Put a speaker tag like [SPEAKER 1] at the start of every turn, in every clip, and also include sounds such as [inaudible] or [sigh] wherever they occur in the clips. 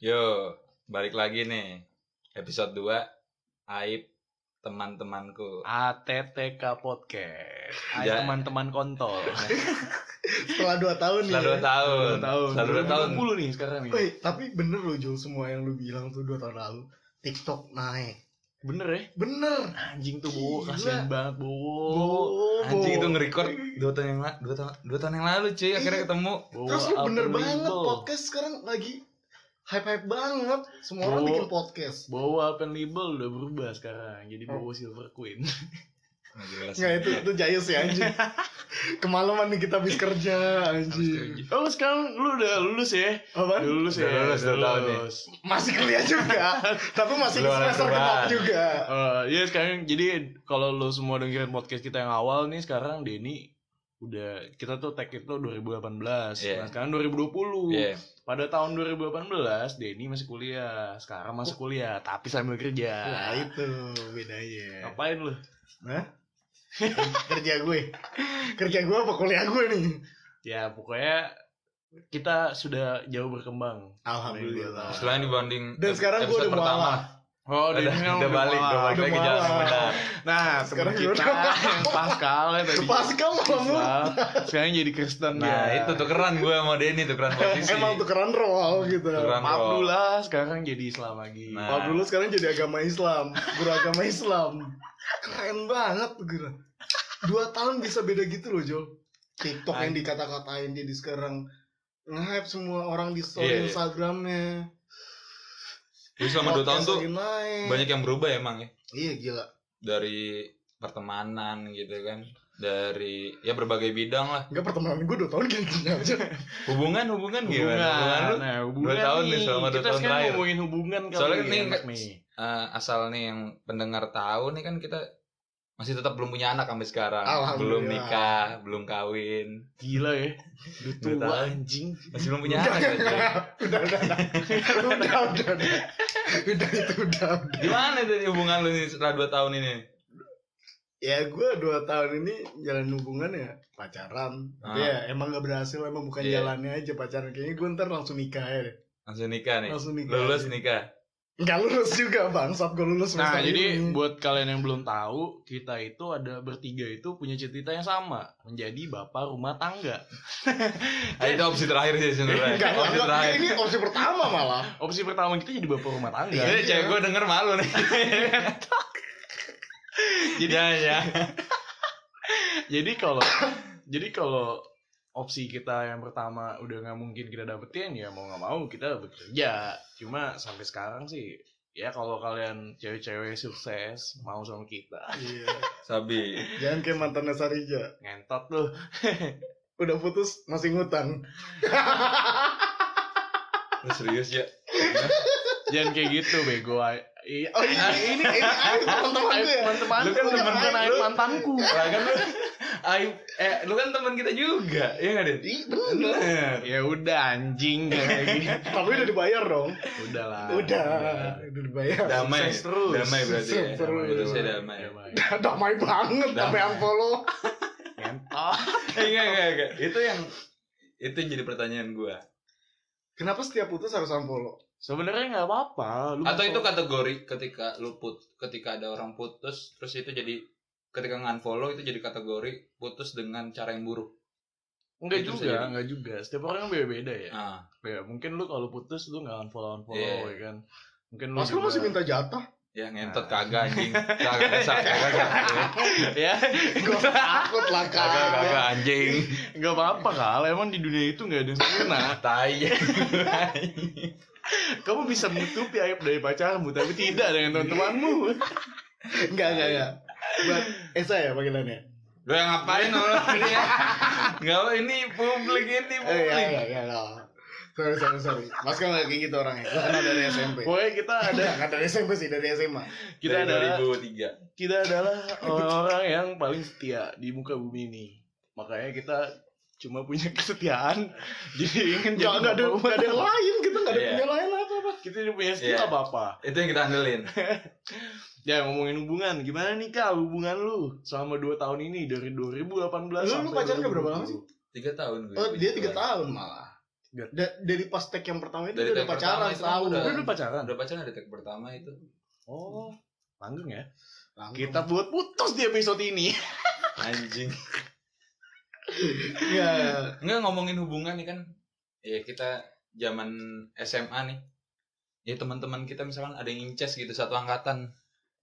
[SPEAKER 1] Yo, balik lagi nih. Episode 2 Aib teman-temanku.
[SPEAKER 2] ATTK Podcast. Ayo
[SPEAKER 1] Ya.
[SPEAKER 2] teman-teman [laughs] kontol.
[SPEAKER 3] setelah 2 tahun
[SPEAKER 1] Setelah
[SPEAKER 3] nih. ya?
[SPEAKER 1] dua tahun.
[SPEAKER 2] Dua tahun.
[SPEAKER 1] Setelah dua tahun.
[SPEAKER 2] 20 nih sekarang nih.
[SPEAKER 3] Woi, tapi bener loh Jul semua yang lu bilang tuh 2 tahun lalu TikTok naik.
[SPEAKER 2] Bener ya?
[SPEAKER 3] Bener.
[SPEAKER 2] Anjing tuh Bo,
[SPEAKER 3] Gila.
[SPEAKER 2] kasihan banget Bo.
[SPEAKER 3] Bo,
[SPEAKER 1] Anjing
[SPEAKER 3] Bo.
[SPEAKER 1] itu nge-record 2 tahun yang lalu, 2 tahun, 2 tahun yang lalu cuy, akhirnya ketemu.
[SPEAKER 2] Bo,
[SPEAKER 3] Terus lu bener
[SPEAKER 2] unbelievable.
[SPEAKER 3] banget podcast sekarang lagi hype-hype banget. Semua orang
[SPEAKER 2] Bo.
[SPEAKER 3] bikin podcast.
[SPEAKER 2] Bo Open Label udah berubah sekarang. Jadi Bo Silver Queen.
[SPEAKER 1] Nggak jelas.
[SPEAKER 3] Nggak itu itu jayus ya
[SPEAKER 2] [laughs]
[SPEAKER 3] anjing. Kemalaman nih kita habis kerja anjing.
[SPEAKER 2] Oh sekarang lu udah lulus ya? Udah
[SPEAKER 3] Apaan?
[SPEAKER 2] lulus
[SPEAKER 1] Udah
[SPEAKER 2] ya?
[SPEAKER 1] lulus, dua tahun ya.
[SPEAKER 3] Masih kuliah
[SPEAKER 2] [laughs]
[SPEAKER 3] juga, tapi masih
[SPEAKER 1] Lu anak tua.
[SPEAKER 3] semester genap juga.
[SPEAKER 2] Eh, ya sekarang jadi kalau lu semua dengerin podcast kita yang awal nih sekarang Denny udah kita tuh tag itu 2018.
[SPEAKER 1] Iya.
[SPEAKER 2] Nah, sekarang 2020.
[SPEAKER 1] Iya.
[SPEAKER 2] Pada tahun 2018 Denny masih kuliah, sekarang masih kuliah tapi sambil
[SPEAKER 3] Nah,
[SPEAKER 2] kerja.
[SPEAKER 3] itu bedanya.
[SPEAKER 2] Ngapain lu?
[SPEAKER 3] Hah? kerja gue. Kerja gue apa kuliah gue nih?
[SPEAKER 2] Ya pokoknya kita sudah jauh berkembang.
[SPEAKER 3] Alhamdulillah.
[SPEAKER 1] Selain dibanding
[SPEAKER 3] Dan sekarang gue
[SPEAKER 1] episode
[SPEAKER 3] udah
[SPEAKER 1] pertama.
[SPEAKER 3] mualaf.
[SPEAKER 2] Oh,
[SPEAKER 1] Udah, udah balik, udah balik
[SPEAKER 3] Udah
[SPEAKER 1] lagi jalan yang
[SPEAKER 3] mualaf.
[SPEAKER 1] benar.
[SPEAKER 2] Nah, sekarang
[SPEAKER 3] Sekarang
[SPEAKER 2] kita
[SPEAKER 3] udah mualaf.
[SPEAKER 2] yang Pascal ya tadi.
[SPEAKER 3] Pascal ngomong
[SPEAKER 2] Pascal, sekarang jadi Kristen ya.
[SPEAKER 1] Nah,
[SPEAKER 2] dia.
[SPEAKER 1] itu tukeran gue sama Denny
[SPEAKER 3] [laughs]
[SPEAKER 1] tukeran posisi.
[SPEAKER 3] emang tukeran role gitu.
[SPEAKER 1] Tukeran.
[SPEAKER 2] Abdullah sekarang jadi Islam lagi.
[SPEAKER 1] Nah.
[SPEAKER 3] Pak dulu sekarang jadi agama Islam, guru agama Islam. Keren banget tuh gila. Dua tahun bisa beda gitu loh Jo. TikTok yang dikata-katain jadi sekarang nge-hype semua orang
[SPEAKER 1] Iya,
[SPEAKER 3] di
[SPEAKER 1] iya.
[SPEAKER 3] story Instagramnya.
[SPEAKER 1] Jadi selama 2 tahun
[SPEAKER 3] Podcast
[SPEAKER 1] tuh
[SPEAKER 3] lagi naik.
[SPEAKER 1] banyak yang berubah emang ya.
[SPEAKER 3] Iya gila.
[SPEAKER 1] Dari pertemanan gitu kan. Dari ya berbagai bidang lah.
[SPEAKER 3] Enggak pertemanan gue dua tahun gini-gini aja.
[SPEAKER 1] Hubungan, hubungan gimana?
[SPEAKER 2] Hubungan.
[SPEAKER 1] Hubungan lu
[SPEAKER 2] Nah, hubungan
[SPEAKER 1] dua tahun nih, selama dua
[SPEAKER 2] kita
[SPEAKER 1] tahun
[SPEAKER 2] sekarang
[SPEAKER 1] terakhir.
[SPEAKER 2] ngomongin hubungan kali
[SPEAKER 1] Soalnya
[SPEAKER 2] ya,
[SPEAKER 1] nih,
[SPEAKER 2] enak nih.
[SPEAKER 1] Eh, asal nih yang pendengar tahu nih kan kita masih tetap belum punya anak sampai sekarang.
[SPEAKER 3] Alhamdulillah.
[SPEAKER 1] Belum nikah, belum kawin.
[SPEAKER 2] Gila ya. Lu
[SPEAKER 1] Dua
[SPEAKER 2] tua
[SPEAKER 1] tahun.
[SPEAKER 2] anjing.
[SPEAKER 1] Masih belum punya anak. aja.
[SPEAKER 3] udah, udah, udah. Udah, udah, udah. Udah itu udah, udah.
[SPEAKER 1] Gimana tadi hubungan lu nih setelah 2 tahun ini?
[SPEAKER 3] ya gue dua tahun ini jalan hubungan ya pacaran Tapi ya emang gak berhasil emang bukan
[SPEAKER 1] Iya.
[SPEAKER 3] jalannya aja pacaran kayaknya gue ntar langsung nikah ya deh.
[SPEAKER 1] Langsung nikah nih.
[SPEAKER 3] langsung nikah
[SPEAKER 1] Lulus
[SPEAKER 3] aja.
[SPEAKER 1] nikah.
[SPEAKER 3] nggak lulus juga bangsat gue lulus
[SPEAKER 2] Nah,
[SPEAKER 3] semester
[SPEAKER 2] jadi
[SPEAKER 3] ini.
[SPEAKER 2] buat kalian yang belum tahu, kita itu ada bertiga itu punya cita-cita yang sama, menjadi bapak rumah tangga.
[SPEAKER 1] Ah, itu opsi terakhir sih sebenarnya.
[SPEAKER 3] Nggak,
[SPEAKER 1] Opsi
[SPEAKER 3] nggak,
[SPEAKER 1] terakhir.
[SPEAKER 3] ini opsi pertama malah
[SPEAKER 2] Opsi pertama kita jadi bapak rumah tangga. Iya.
[SPEAKER 1] Jadi Iya, cewek gue denger malu nih. [laughs]
[SPEAKER 2] Jadi-
[SPEAKER 1] ya, ya.
[SPEAKER 2] jadi kalau jadi kalau opsi kita yang pertama udah nggak mungkin kita dapetin ya mau nggak mau kita bekerja. Cuma sampai sekarang sih ya kalau kalian cewek-cewek sukses mau sama kita
[SPEAKER 3] Iya.
[SPEAKER 1] Sabi.
[SPEAKER 3] jangan kayak mantannya Sarija
[SPEAKER 2] ngentot tuh
[SPEAKER 3] udah putus masih ngutang
[SPEAKER 1] Lu serius ya?
[SPEAKER 2] jangan kayak gitu bego Ay- i-
[SPEAKER 3] oh iya ini ini aib teman-teman
[SPEAKER 2] aib
[SPEAKER 3] gue ya
[SPEAKER 2] teman-teman
[SPEAKER 1] Lu kan
[SPEAKER 2] bukan
[SPEAKER 1] temen
[SPEAKER 2] bukan
[SPEAKER 1] gue,
[SPEAKER 2] aib
[SPEAKER 1] lu.
[SPEAKER 2] mantanku
[SPEAKER 1] Lah kan lu Aib, eh lu kan teman kita juga, iya enggak, Din?
[SPEAKER 3] Ih, bener
[SPEAKER 1] Bener.
[SPEAKER 2] ya udah anjing gitu. gak lagi
[SPEAKER 3] tapi udah dibayar dong
[SPEAKER 2] udah lah
[SPEAKER 3] udah udah dibayar
[SPEAKER 1] Damai. ya,
[SPEAKER 2] Sukses terus.
[SPEAKER 1] Damai berarti ya.
[SPEAKER 3] Sukses terus.
[SPEAKER 1] Terus ya damai.
[SPEAKER 3] [laughs] damai banget damai unfollow
[SPEAKER 2] [laughs] ngentot
[SPEAKER 1] Eh, Enggak, enggak, enggak. Itu yang itu yang jadi pertanyaan gua.
[SPEAKER 3] kenapa setiap putus harus unfollow
[SPEAKER 2] sebenarnya nggak apa-apa lu
[SPEAKER 1] Atau
[SPEAKER 2] mau-
[SPEAKER 1] itu kategori ketika lu put ketika ada orang putus terus itu jadi ketika nge-unfollow itu jadi kategori putus dengan cara yang buruk.
[SPEAKER 2] Enggak
[SPEAKER 1] Itu
[SPEAKER 2] juga,
[SPEAKER 1] sendiri.
[SPEAKER 2] enggak juga. Setiap orang beda-beda ya.
[SPEAKER 1] Ah,
[SPEAKER 2] Ya, mungkin lu kalau putus lu enggak unfollow unfollow
[SPEAKER 1] Iya.
[SPEAKER 2] ya kan. Mungkin
[SPEAKER 1] Hmm,
[SPEAKER 2] lu
[SPEAKER 3] Mas lu
[SPEAKER 2] juga-
[SPEAKER 3] masih minta [laughs] jatah?
[SPEAKER 1] ya ngentot kagak [laughs] anjing. Kagak bisa, kagak kagak.
[SPEAKER 2] [laughs] ya.
[SPEAKER 1] [laughs]
[SPEAKER 3] Gak usah takut lah
[SPEAKER 1] Kagak kagak
[SPEAKER 3] kak
[SPEAKER 1] anjing.
[SPEAKER 2] Enggak apa-apa kal, emang di dunia itu enggak ada yang sempurna.
[SPEAKER 1] [laughs] Tai.
[SPEAKER 2] [laughs] Kamu bisa menutupi aib dari pacarmu tapi tidak dengan teman-temanmu.
[SPEAKER 3] Enggak, enggak, enggak Buat Esa ya panggilannya?
[SPEAKER 1] Lu yang ngapain lu ini ya? Enggak, ini publik
[SPEAKER 2] iya,
[SPEAKER 1] ini
[SPEAKER 3] Eh, ya,
[SPEAKER 1] publik.
[SPEAKER 3] ya, ya, ya. Sorry, sorry, sorry Mas kan gak kayak gitu orangnya Gue kenal dari SMP
[SPEAKER 2] Pokoknya kita ada
[SPEAKER 3] Ada, gak dari SMP sih, dari SMA
[SPEAKER 2] kita
[SPEAKER 1] Dari
[SPEAKER 2] adalah
[SPEAKER 1] 2003.
[SPEAKER 2] kita adalah orang-orang yang paling setia di muka bumi ini. Makanya kita cuma punya [laughs] kesetiaan. Jadi ingin jadi
[SPEAKER 3] Gak, gak ada,
[SPEAKER 2] bapak
[SPEAKER 3] gak ada yang
[SPEAKER 2] rumah.
[SPEAKER 3] lain Kita gak ada
[SPEAKER 1] Iya.
[SPEAKER 3] punya lain apa-apa
[SPEAKER 2] Kita tidak punya skill
[SPEAKER 1] Iya.
[SPEAKER 2] apa-apa.
[SPEAKER 1] Itu yang kita andelin.
[SPEAKER 2] Ya ngomongin hubungan, gimana nih kak hubungan lu selama 2 tahun ini dari 2018
[SPEAKER 3] Lu- lu
[SPEAKER 2] sampai
[SPEAKER 3] pacarnya berapa
[SPEAKER 2] 2020?
[SPEAKER 3] lama sih?
[SPEAKER 1] 3 tahun gue.
[SPEAKER 3] Oh, dia 3 Oh, tahun malah
[SPEAKER 2] Biar-
[SPEAKER 3] Da- dari pas tag yang pertama itu
[SPEAKER 1] Iya. Dari
[SPEAKER 3] dia udah
[SPEAKER 1] tag pertama
[SPEAKER 3] pacaran
[SPEAKER 1] itu
[SPEAKER 3] setahun.
[SPEAKER 1] udah.
[SPEAKER 2] Udah dulu pacaran?
[SPEAKER 1] Udah pacaran ada tag pertama itu.
[SPEAKER 2] Oh, langgeng ya.
[SPEAKER 3] Langsung.
[SPEAKER 2] Kita buat putus di episode ini.
[SPEAKER 1] Anjing.
[SPEAKER 3] ya
[SPEAKER 1] Enggak ngomongin hubungan nih kan. Ya kita zaman SMA nih. Ya teman-teman kita misalkan ada yang inces gitu satu angkatan.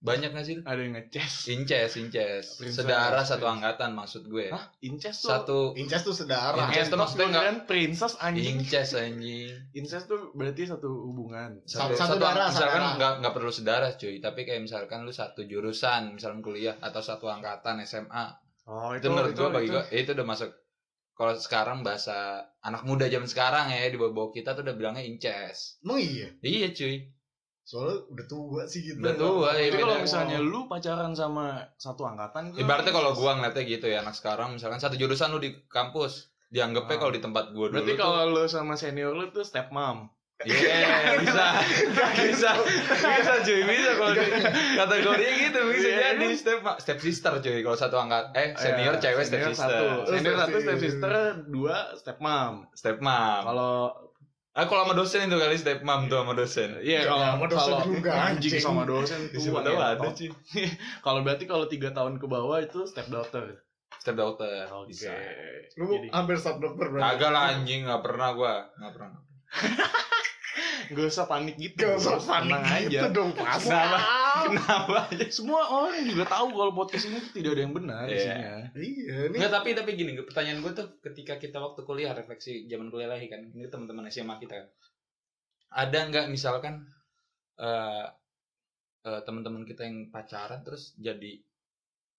[SPEAKER 1] Banyak gak sih?
[SPEAKER 2] [laughs] Ada yang ngeces.
[SPEAKER 1] Inces, inces.
[SPEAKER 2] Princess,
[SPEAKER 1] Sedara satu
[SPEAKER 2] princess.
[SPEAKER 1] angkatan maksud gue.
[SPEAKER 2] Hah? Inces tuh.
[SPEAKER 1] Satu
[SPEAKER 3] incest tuh sedara.
[SPEAKER 1] Incest.
[SPEAKER 2] Incest
[SPEAKER 1] Itu maksudnya
[SPEAKER 2] maksudnya kan princess anjing.
[SPEAKER 1] inces anjing.
[SPEAKER 2] Incest tuh berarti satu hubungan.
[SPEAKER 3] Satu- satu darah, satu
[SPEAKER 1] misalkan
[SPEAKER 3] darah.
[SPEAKER 1] nggak nggak perlu sedarah cuy tapi kayak misalkan lu satu jurusan misalkan kuliah atau satu angkatan SMA
[SPEAKER 2] Oh,
[SPEAKER 1] itu, menurut gua bagi gua eh, itu udah masuk kalau sekarang bahasa anak muda zaman sekarang ya di bawah kita tuh udah bilangnya inces
[SPEAKER 3] Emang iya.
[SPEAKER 1] iya cuy
[SPEAKER 3] Soalnya udah tua sih gitu.
[SPEAKER 1] Udah tua, ya,
[SPEAKER 2] Tapi
[SPEAKER 1] beda.
[SPEAKER 2] kalau misalnya lu pacaran sama satu angkatan itu
[SPEAKER 1] ibaratnya kalau gua ngeliatnya gitu ya anak sekarang misalkan satu jurusan lu di kampus dianggapnya
[SPEAKER 2] Ah.
[SPEAKER 1] kalau di tempat gua dulu tuh,
[SPEAKER 2] Berarti kalau lu sama senior lu tuh step mom.
[SPEAKER 1] iya bisa bisa bisa cuy bisa kalau di- kategorinya gitu bisa
[SPEAKER 2] Iya,
[SPEAKER 1] jadi
[SPEAKER 2] kan?
[SPEAKER 1] step step sister cuy kalau satu angkat eh senior
[SPEAKER 2] Ya,
[SPEAKER 1] cewek step
[SPEAKER 2] senior
[SPEAKER 1] sister
[SPEAKER 2] Satu. Senior
[SPEAKER 3] Step
[SPEAKER 2] satu step
[SPEAKER 3] sister.
[SPEAKER 2] sister, dua step mom.
[SPEAKER 1] step mom
[SPEAKER 2] Kalau
[SPEAKER 1] Ah kalau sama dosen itu kali step mom tuh sama dosen.
[SPEAKER 2] Iya
[SPEAKER 3] Ya,
[SPEAKER 2] kalau
[SPEAKER 3] sama dosen
[SPEAKER 2] kalau
[SPEAKER 3] juga,
[SPEAKER 2] [laughs] anjing
[SPEAKER 3] anjing.
[SPEAKER 2] sama dosen
[SPEAKER 1] Di situ
[SPEAKER 2] tua
[SPEAKER 1] tahu
[SPEAKER 2] ya,
[SPEAKER 1] ada
[SPEAKER 2] tau.
[SPEAKER 1] sih.
[SPEAKER 2] [laughs] Kalau berarti kalau tiga tahun ke bawah itu step daughter.
[SPEAKER 1] Step dokter.
[SPEAKER 2] Oke.
[SPEAKER 1] Bisa.
[SPEAKER 3] Lu
[SPEAKER 2] Jadi
[SPEAKER 3] hampir sub dokter berarti.
[SPEAKER 1] Kagak lah anjing nggak pernah gua, nggak pernah.
[SPEAKER 2] gak usah panik gitu.
[SPEAKER 3] Gak usah
[SPEAKER 2] Tenang
[SPEAKER 3] panik gitu dong pas.
[SPEAKER 2] Kenapa?
[SPEAKER 1] Kenapa?
[SPEAKER 2] Semua orang juga tahu kalau podcast ini tuh tidak ada yang benar
[SPEAKER 1] Iya.
[SPEAKER 2] isinya.
[SPEAKER 3] Iya nih.
[SPEAKER 1] Enggak tapi tapi gini, pertanyaan gua tuh ketika kita waktu kuliah refleksi zaman kuliah lagi kan, ini teman-teman SMA kita kan. Ada nggak misalkan eh eh, teman-teman kita yang pacaran terus jadi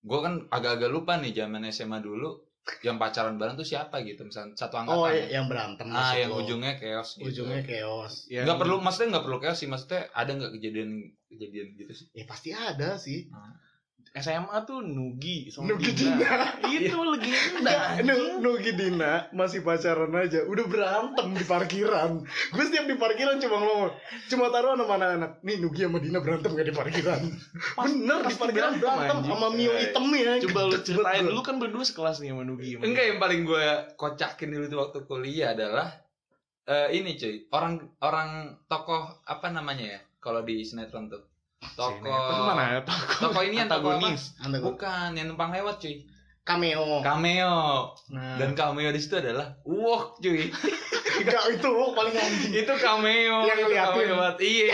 [SPEAKER 1] gua kan agak-agak lupa nih zaman SMA dulu yang pacaran bareng tuh siapa gitu misalkan satu angkatan
[SPEAKER 3] Oh
[SPEAKER 1] ya.
[SPEAKER 3] yang berantem
[SPEAKER 1] ah
[SPEAKER 3] maksud
[SPEAKER 1] yang
[SPEAKER 3] lo.
[SPEAKER 1] ujungnya chaos gitu.
[SPEAKER 3] ujungnya iya. chaos.
[SPEAKER 2] Yang-
[SPEAKER 1] nggak perlu maksudnya nggak perlu kayak sih maksudnya ada nggak kejadian kejadian gitu sih
[SPEAKER 3] Ya pasti ada sih.
[SPEAKER 2] SMA tuh Nugi sama
[SPEAKER 3] Nugi Iya.
[SPEAKER 2] Dina. Itu legenda. Oh, iya. Nah, anjing.
[SPEAKER 3] Nugi Dina masih pacaran aja, udah berantem di parkiran. Gue setiap di parkiran cuma ngomong, cuma taruh sama anak-anak. Nih Nugi sama Dina berantem gak di parkiran?
[SPEAKER 2] Pas-
[SPEAKER 3] Bener di
[SPEAKER 2] pasti
[SPEAKER 3] parkiran
[SPEAKER 2] berantem,
[SPEAKER 3] berantem
[SPEAKER 2] anjing. Eh,
[SPEAKER 3] sama Mio hitam ya.
[SPEAKER 2] Coba lu ceritain
[SPEAKER 3] Betul.
[SPEAKER 2] lu kan berdua sekelas nih sama Nugi. sama
[SPEAKER 1] enggak
[SPEAKER 2] Dina.
[SPEAKER 1] yang paling gue kocakin dulu tuh waktu kuliah adalah eh, ini cuy orang orang tokoh apa namanya ya kalau di sinetron tuh
[SPEAKER 2] Sinetron
[SPEAKER 1] tokoh
[SPEAKER 2] mana ya? Tokoh
[SPEAKER 1] tokoh ini yang tokoh apa?
[SPEAKER 2] antagonis.
[SPEAKER 3] Anda gue
[SPEAKER 1] bukan yang numpang lewat cuy
[SPEAKER 3] cameo.
[SPEAKER 1] cameo
[SPEAKER 3] Nah, [laughs]
[SPEAKER 1] dan cameo di situ adalah wok cuy
[SPEAKER 3] enggak itu paling anjing.
[SPEAKER 1] itu cameo
[SPEAKER 3] Yang
[SPEAKER 1] itu
[SPEAKER 3] ngeliatin.
[SPEAKER 1] cameo banget iya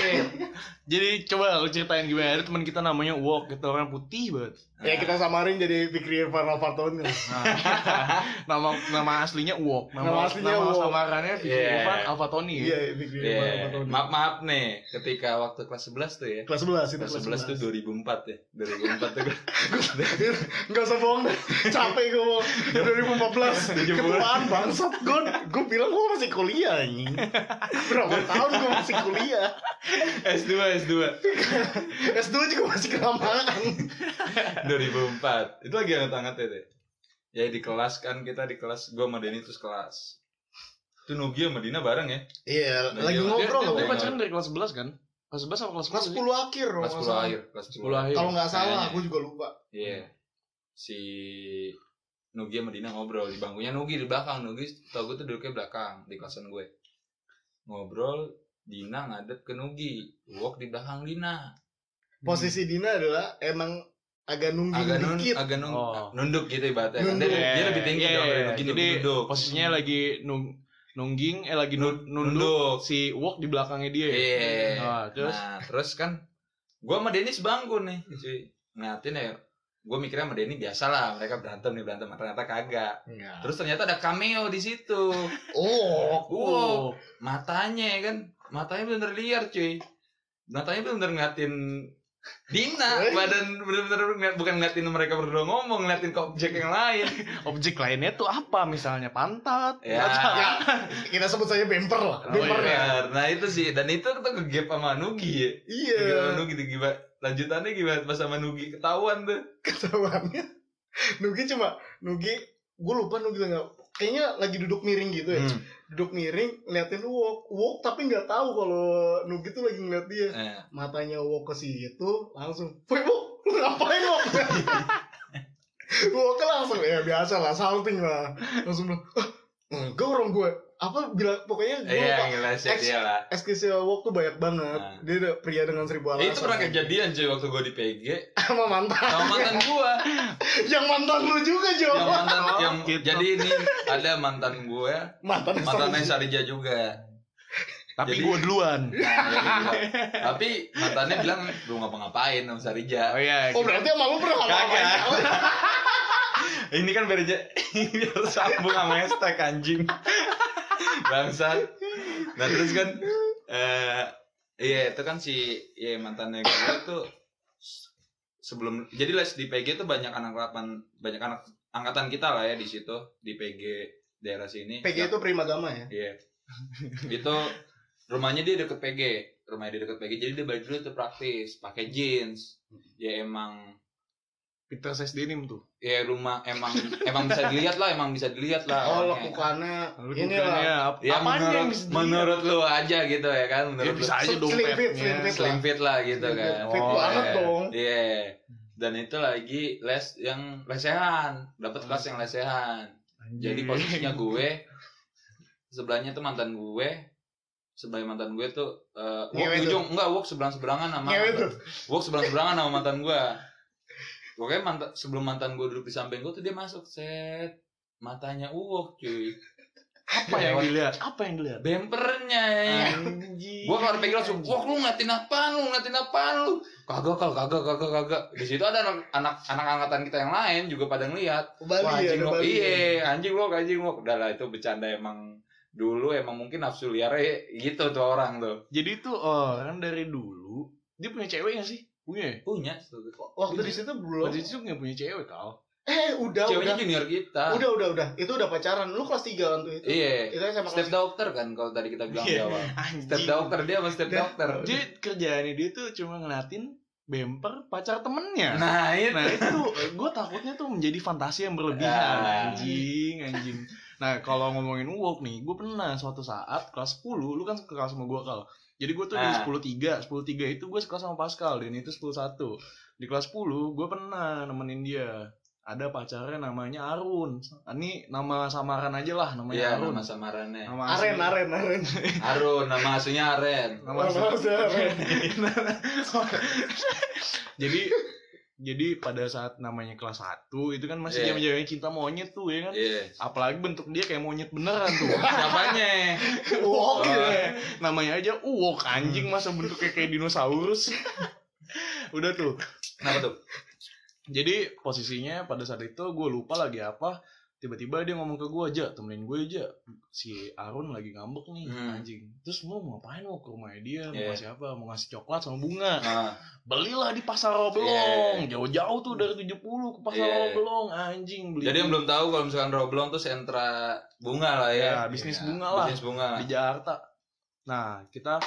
[SPEAKER 2] Jadi coba lu ceritain gimana ada teman kita namanya Wok gitu orang putih banget.
[SPEAKER 3] Ya kita samarin jadi Fikri Irfan Iya,
[SPEAKER 1] [laughs]
[SPEAKER 3] Alfarton. [laughs]
[SPEAKER 2] Nah, nama nama aslinya Wok. Nama,
[SPEAKER 3] Nama
[SPEAKER 2] nama
[SPEAKER 3] aslinya
[SPEAKER 2] nama
[SPEAKER 3] Wok.
[SPEAKER 2] samarannya Vicky
[SPEAKER 1] Yeah.
[SPEAKER 2] Irfan Alfatoni.
[SPEAKER 3] Iya, Fikri Irfan
[SPEAKER 1] Iya.
[SPEAKER 3] Alfarton.
[SPEAKER 1] maaf maaf nih ketika waktu kelas 11 tuh ya
[SPEAKER 3] Kelas 11 itu
[SPEAKER 1] kelas 11
[SPEAKER 3] [laughs]
[SPEAKER 1] tuh 2004 ya 2004 [laughs] tuh gue
[SPEAKER 3] Gak usah bohong deh. Capek gue bohong.
[SPEAKER 1] [laughs]
[SPEAKER 3] 2014 Ketuaan bangsat Gue Gue bilang gue masih kuliah anjing Berapa tahun gue masih kuliah
[SPEAKER 1] S2 S2
[SPEAKER 3] S2 juga masih kelamaan
[SPEAKER 1] 2004 itu lagi hangat-hangat ya deh ya di kelas kan kita di kelas gue sama Denny terus kelas itu Nugi sama Dina bareng ya
[SPEAKER 3] Iya
[SPEAKER 1] Nah,
[SPEAKER 3] Lagi
[SPEAKER 1] iya.
[SPEAKER 2] Dia,
[SPEAKER 3] ngobrol
[SPEAKER 2] dia,
[SPEAKER 3] loh
[SPEAKER 2] dia
[SPEAKER 1] Ngobrol.
[SPEAKER 2] pacaran dari kelas 11 kan? Kelas 11 apa kelas 10?
[SPEAKER 3] Kelas 10 akhir kalau
[SPEAKER 1] kelas
[SPEAKER 3] nggak
[SPEAKER 1] 10
[SPEAKER 3] salah.
[SPEAKER 1] akhir iya. kelas 10
[SPEAKER 2] 10
[SPEAKER 1] akhir
[SPEAKER 2] akhir.
[SPEAKER 3] Kalau gak salah
[SPEAKER 1] Kayaknya.
[SPEAKER 3] Gue juga lupa
[SPEAKER 1] iya si Nugi sama Dina ngobrol di bangkunya Nugi di belakang Nugi tau gue tuh duduknya belakang di kelasan gue ngobrol Dina ngadep ke Nugi walk di belakang Dina
[SPEAKER 3] Posisi Dina adalah Emang Agak nungging
[SPEAKER 1] Hmm. agak nun,
[SPEAKER 3] dikit
[SPEAKER 1] agak nun,
[SPEAKER 2] Oh.
[SPEAKER 1] nunduk gitu ibaratnya kan. dia,
[SPEAKER 3] Nunduk.
[SPEAKER 1] dia lebih tinggi
[SPEAKER 2] Iya,
[SPEAKER 1] dong dari
[SPEAKER 2] iya.
[SPEAKER 1] Nugi
[SPEAKER 2] Jadi
[SPEAKER 1] Nugi duduk
[SPEAKER 2] posisinya lagi nung nungging eh lagi nun- nunduk
[SPEAKER 1] nunduk
[SPEAKER 2] si Wok di belakangnya dia. ya?
[SPEAKER 1] Iya.
[SPEAKER 2] Nah, terus
[SPEAKER 1] Nah, terus kan gua sama Denny sebangku nih. Cuy. Ngeliatin ya. Gua mikirnya sama Denny biasa lah, mereka berantem nih berantem. Nah, Ternyata kagak.
[SPEAKER 3] Iya.
[SPEAKER 1] Terus ternyata ada cameo di situ.
[SPEAKER 3] Oh
[SPEAKER 1] Wow, matanya ya kan. Matanya bener liar, cuy. Matanya bener ngeliatin Dina, badan bener-bener ngeliat- bukan ngeliatin mereka berdua ngomong, ngeliatin ke objek yang lain.
[SPEAKER 2] objek lainnya tuh apa misalnya pantat.
[SPEAKER 1] Ya.
[SPEAKER 2] Pantat.
[SPEAKER 3] Ya, kita sebut saja bemper lah
[SPEAKER 2] Oh,
[SPEAKER 3] Bemper ya
[SPEAKER 1] Bener. Nah itu sih, dan itu tuh kegep sama Nugi ya. Kegep sama
[SPEAKER 3] [laughs] Iya
[SPEAKER 1] Nugi, tuh gimana- lanjutannya gimana pas sama Nugi ketahuan tuh.
[SPEAKER 3] Ketahuannya Nugi cuma Nugi Gue lupa Nugi nggak Kayaknya lagi duduk miring gitu ya
[SPEAKER 1] Hmm.
[SPEAKER 3] duduk miring ngeliatin walk walk tapi nggak tahu kalau Nugi tuh lagi ngeliat dia
[SPEAKER 1] Eh.
[SPEAKER 3] matanya walk ke situ langsung woi walk lu ngapain
[SPEAKER 1] [laughs]
[SPEAKER 3] walk walk langsung ya biasa lah salting lah langsung bilang ah, enggak orang gue apa bilang pokoknya gue
[SPEAKER 1] Iya,
[SPEAKER 3] lupa
[SPEAKER 1] gila sih
[SPEAKER 3] Ex-
[SPEAKER 1] dia lah.
[SPEAKER 3] SKCL Walk tuh banyak banget
[SPEAKER 1] Nah.
[SPEAKER 3] dia ada pria dengan seribu alasan
[SPEAKER 1] Eh, itu pernah kejadian cuy waktu gue di
[SPEAKER 2] [laughs]
[SPEAKER 1] PG
[SPEAKER 3] sama mantan [laughs]
[SPEAKER 2] Iya.
[SPEAKER 1] sama mantan gue
[SPEAKER 3] yang mantan lu juga Jo
[SPEAKER 1] yang mantan
[SPEAKER 2] Oh,
[SPEAKER 1] yang
[SPEAKER 2] gitu.
[SPEAKER 1] jadi ini ada mantan gue
[SPEAKER 3] mantan yang
[SPEAKER 1] mantan
[SPEAKER 3] sama-
[SPEAKER 1] Sarija juga
[SPEAKER 2] Tapi
[SPEAKER 1] Jadi-
[SPEAKER 2] gua duluan.
[SPEAKER 1] Nah, jadi gua-
[SPEAKER 2] [laughs]
[SPEAKER 1] tapi mantannya bilang belum ngapa-ngapain sama Sarija
[SPEAKER 2] iya.
[SPEAKER 3] oh berarti sama lu pernah
[SPEAKER 1] Kagak.
[SPEAKER 3] ngapa-ngapain
[SPEAKER 1] ini kan biar ja- [laughs] ini harus sambung sama hashtag anjing [laughs] bangsat nah terus kan eh iya itu kan si ya mantannya gue tuh s- sebelum jadi les di PG tuh banyak anak angkatan banyak anak angkatan kita lah ya di situ di PG daerah sini
[SPEAKER 3] PG itu prima dama ya
[SPEAKER 1] Iya. itu rumahnya dia deket PG, rumahnya dia deket PG. Jadi dia balik dulu tuh praktis, pakai jeans. Ya emang
[SPEAKER 2] Peter Ses Denim tuh.
[SPEAKER 1] ya rumah emang emang bisa dilihat lah, emang bisa dilihat lah. orangnya.
[SPEAKER 3] oh lakukannya
[SPEAKER 2] Lalu
[SPEAKER 3] ini
[SPEAKER 2] bukannya
[SPEAKER 3] lah
[SPEAKER 2] apa?
[SPEAKER 1] Ya
[SPEAKER 2] apaan yang
[SPEAKER 1] menurut
[SPEAKER 2] bisa dilihat?
[SPEAKER 1] menurut lu aja gitu ya kan,
[SPEAKER 2] Ya
[SPEAKER 1] menurut
[SPEAKER 2] bisa
[SPEAKER 1] lu.
[SPEAKER 2] aja
[SPEAKER 3] Slim
[SPEAKER 2] dompetnya.
[SPEAKER 3] fit, slim fit.
[SPEAKER 1] slim fit lah gitu
[SPEAKER 3] Slim fit.
[SPEAKER 1] kan.
[SPEAKER 3] Fit
[SPEAKER 2] Oh,
[SPEAKER 3] banget
[SPEAKER 1] iya.
[SPEAKER 3] dong
[SPEAKER 1] Iya. Dan itu lagi les yang lesehan, dapat kelas yang lesehan.
[SPEAKER 2] Anjing.
[SPEAKER 1] Jadi
[SPEAKER 2] [laughs]
[SPEAKER 1] posisinya gue sebelahnya tuh mantan gue, sebelah mantan gue tuh eh walk
[SPEAKER 3] Ngewe
[SPEAKER 1] di
[SPEAKER 3] tuh.
[SPEAKER 1] ujung enggak walk sebelah seberangan sama
[SPEAKER 3] ngewe tuh
[SPEAKER 1] walk sebelah seberangan sama mantan gue. Pokoknya mantan sebelum mantan gue duduk di samping gue tuh dia masuk set matanya uwok cuy
[SPEAKER 2] apa yang Ah. dilihat? Apa yang dilihat?
[SPEAKER 1] bempernya ya.
[SPEAKER 2] Anjing.
[SPEAKER 1] Gue keluar PG langsung, wah lu ngeliatin apaan lu, ngeliatin apaan lu Kagak kal, kagak, kagak, kagak Di situ ada anak, anak, anak angkatan kita yang lain juga pada ngeliat
[SPEAKER 3] Bali
[SPEAKER 1] Wah,
[SPEAKER 3] ya
[SPEAKER 1] anjing
[SPEAKER 3] ada
[SPEAKER 1] lo,
[SPEAKER 3] Bali ya.
[SPEAKER 1] iya, anjing lo, anjing lo. Udah lah itu bercanda emang dulu emang mungkin nafsu liarnya gitu tuh orang tuh.
[SPEAKER 2] Jadi tuh orang dari dulu dia punya cewek gak sih? Punya. ya?
[SPEAKER 1] Punya.
[SPEAKER 3] waktu di situ belum
[SPEAKER 2] Waktu itu punya punya cewek kal.
[SPEAKER 3] eh udah
[SPEAKER 1] Ceweknya
[SPEAKER 3] udah
[SPEAKER 1] junior kita.
[SPEAKER 3] udah udah udah itu udah pacaran lu kelas 3 kan tuh itu
[SPEAKER 1] Iya.
[SPEAKER 3] itu sama
[SPEAKER 1] Step
[SPEAKER 3] kelas
[SPEAKER 1] dokter kan kalau tadi kita bilang di
[SPEAKER 2] Iya.
[SPEAKER 1] awal. Step
[SPEAKER 2] Anjing.
[SPEAKER 1] dokter dia sama step
[SPEAKER 3] Dah.
[SPEAKER 1] dokter.
[SPEAKER 2] Dia kerjaannya dia tuh cuma ngeliatin bemper pacar temennya.
[SPEAKER 1] Nah, itu. [laughs]
[SPEAKER 2] Nah itu gue takutnya tuh menjadi fantasi yang berlebihan
[SPEAKER 1] Ah.
[SPEAKER 2] Anjing, anjing Nah kalau ngomongin uwok nih Gue pernah suatu saat kelas 10 Lu kan kelas sama gue kal Jadi gue tuh
[SPEAKER 1] Ah.
[SPEAKER 2] di 10-3 10-3 itu gue sekelas sama Pascal Dan itu 10-1 Di kelas 10 gue pernah nemenin dia Ada pacarnya namanya Arun Ini nama samaran aja lah namanya
[SPEAKER 1] Iya,
[SPEAKER 2] Arun
[SPEAKER 1] nama samarannya.
[SPEAKER 2] Nama asli.
[SPEAKER 3] aren aren [laughs] aren
[SPEAKER 1] Arun, nama aslinya Aren.
[SPEAKER 2] Nama asli.
[SPEAKER 3] aren
[SPEAKER 1] [laughs]
[SPEAKER 2] Jadi jadi pada saat namanya kelas 1 itu kan masih
[SPEAKER 1] Iya.
[SPEAKER 2] jam-jamnya cinta monyet tuh ya kan.
[SPEAKER 1] Iya.
[SPEAKER 2] Apalagi bentuk dia kayak monyet beneran tuh.
[SPEAKER 1] [laughs] Siapanya?
[SPEAKER 3] Wow,
[SPEAKER 2] Iya. Namanya aja uwok anjing masa bentuknya kayak dinosaurus.
[SPEAKER 1] [laughs]
[SPEAKER 2] Udah tuh.
[SPEAKER 1] Kenapa tuh?
[SPEAKER 2] Jadi posisinya pada saat itu gue lupa lagi apa. Tiba-tiba dia ngomong ke gue aja, temenin gue aja. Si Arun lagi ngambek nih
[SPEAKER 1] Hmm.
[SPEAKER 2] anjing. Terus mau mau ngapain mau ke rumahnya dia, mau
[SPEAKER 1] Iya.
[SPEAKER 2] ngasih apa? Mau ngasih coklat sama bunga.
[SPEAKER 1] Ah,
[SPEAKER 2] Belilah di pasar Roblong.
[SPEAKER 1] Iya.
[SPEAKER 2] Jauh-jauh tuh dari 70 ke pasar
[SPEAKER 1] Iya.
[SPEAKER 2] Roblong anjing beli.
[SPEAKER 1] jadi yang belum tahu kalau misalkan Roblong tuh sentra bunga lah ya.
[SPEAKER 2] Ya, bisnis
[SPEAKER 1] Iya,
[SPEAKER 2] bunga lah.
[SPEAKER 1] Bisnis bunga.
[SPEAKER 2] di Jakarta. Nah, kita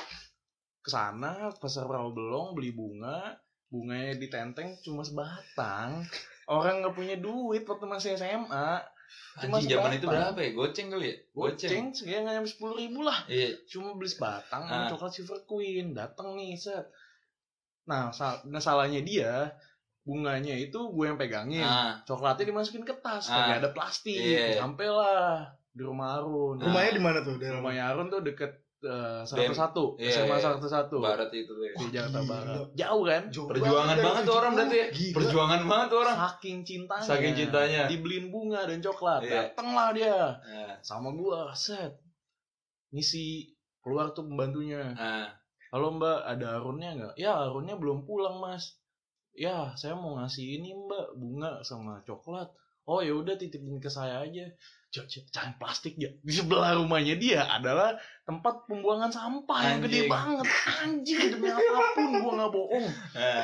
[SPEAKER 2] ke sana pasar Rawabelong beli bunga, bunganya ditenteng cuma sebatang. Orang nggak punya duit waktu masih SMA. Cuma
[SPEAKER 1] Anjing zaman itu
[SPEAKER 2] sebatang.
[SPEAKER 1] berapa ya? Goceng kali ya? Goceng.
[SPEAKER 2] Goceng, sekian nggak nyampe sepuluh ribu lah.
[SPEAKER 1] Iya.
[SPEAKER 2] Cuma beli sebatang sama
[SPEAKER 1] Ah.
[SPEAKER 2] coklat silver queen. Datang nih set. Nah, sal- nah, salahnya dia bunganya itu gue yang pegangin.
[SPEAKER 1] Ah,
[SPEAKER 2] Coklatnya dimasukin ke tas,
[SPEAKER 1] Ah.
[SPEAKER 2] kagak ada plastik.
[SPEAKER 1] Iya.
[SPEAKER 2] Nyampe lah di rumah Arun.
[SPEAKER 1] Rumah-
[SPEAKER 3] rumahnya di mana tuh daerah
[SPEAKER 2] rumahnya Arun tuh deket satu
[SPEAKER 1] BEM.
[SPEAKER 2] satu
[SPEAKER 1] Iya,
[SPEAKER 2] SMA
[SPEAKER 1] iya.
[SPEAKER 2] satu satu
[SPEAKER 1] barat itu tuh. ya.
[SPEAKER 2] di Jakarta
[SPEAKER 3] Gila.
[SPEAKER 2] Barat jauh kan
[SPEAKER 3] Jauh
[SPEAKER 1] Perjuangan
[SPEAKER 3] dari
[SPEAKER 1] banget tuh orang berarti. ya.
[SPEAKER 3] 70. Gila.
[SPEAKER 1] Perjuangan banget tuh orang.
[SPEAKER 2] saking cintanya
[SPEAKER 1] Saking cintanya.
[SPEAKER 2] dibeliin bunga dan coklat
[SPEAKER 1] Iya.
[SPEAKER 2] dateng lah dia
[SPEAKER 1] Nah,
[SPEAKER 2] sama gua set ngisi keluar tuh pembantunya
[SPEAKER 1] nah,
[SPEAKER 2] halo mbak ada Arunnya nggak ya Arunnya belum pulang mas ya saya mau ngasih ini mbak bunga sama coklat oh ya udah titipin ke saya aja Cok, cok, jangan plastik ya di sebelah rumahnya dia adalah tempat pembuangan sampah yang gede
[SPEAKER 1] Anjing.
[SPEAKER 2] banget anjing
[SPEAKER 1] [laughs]
[SPEAKER 2] demi apapun gua nggak bohong
[SPEAKER 1] nah.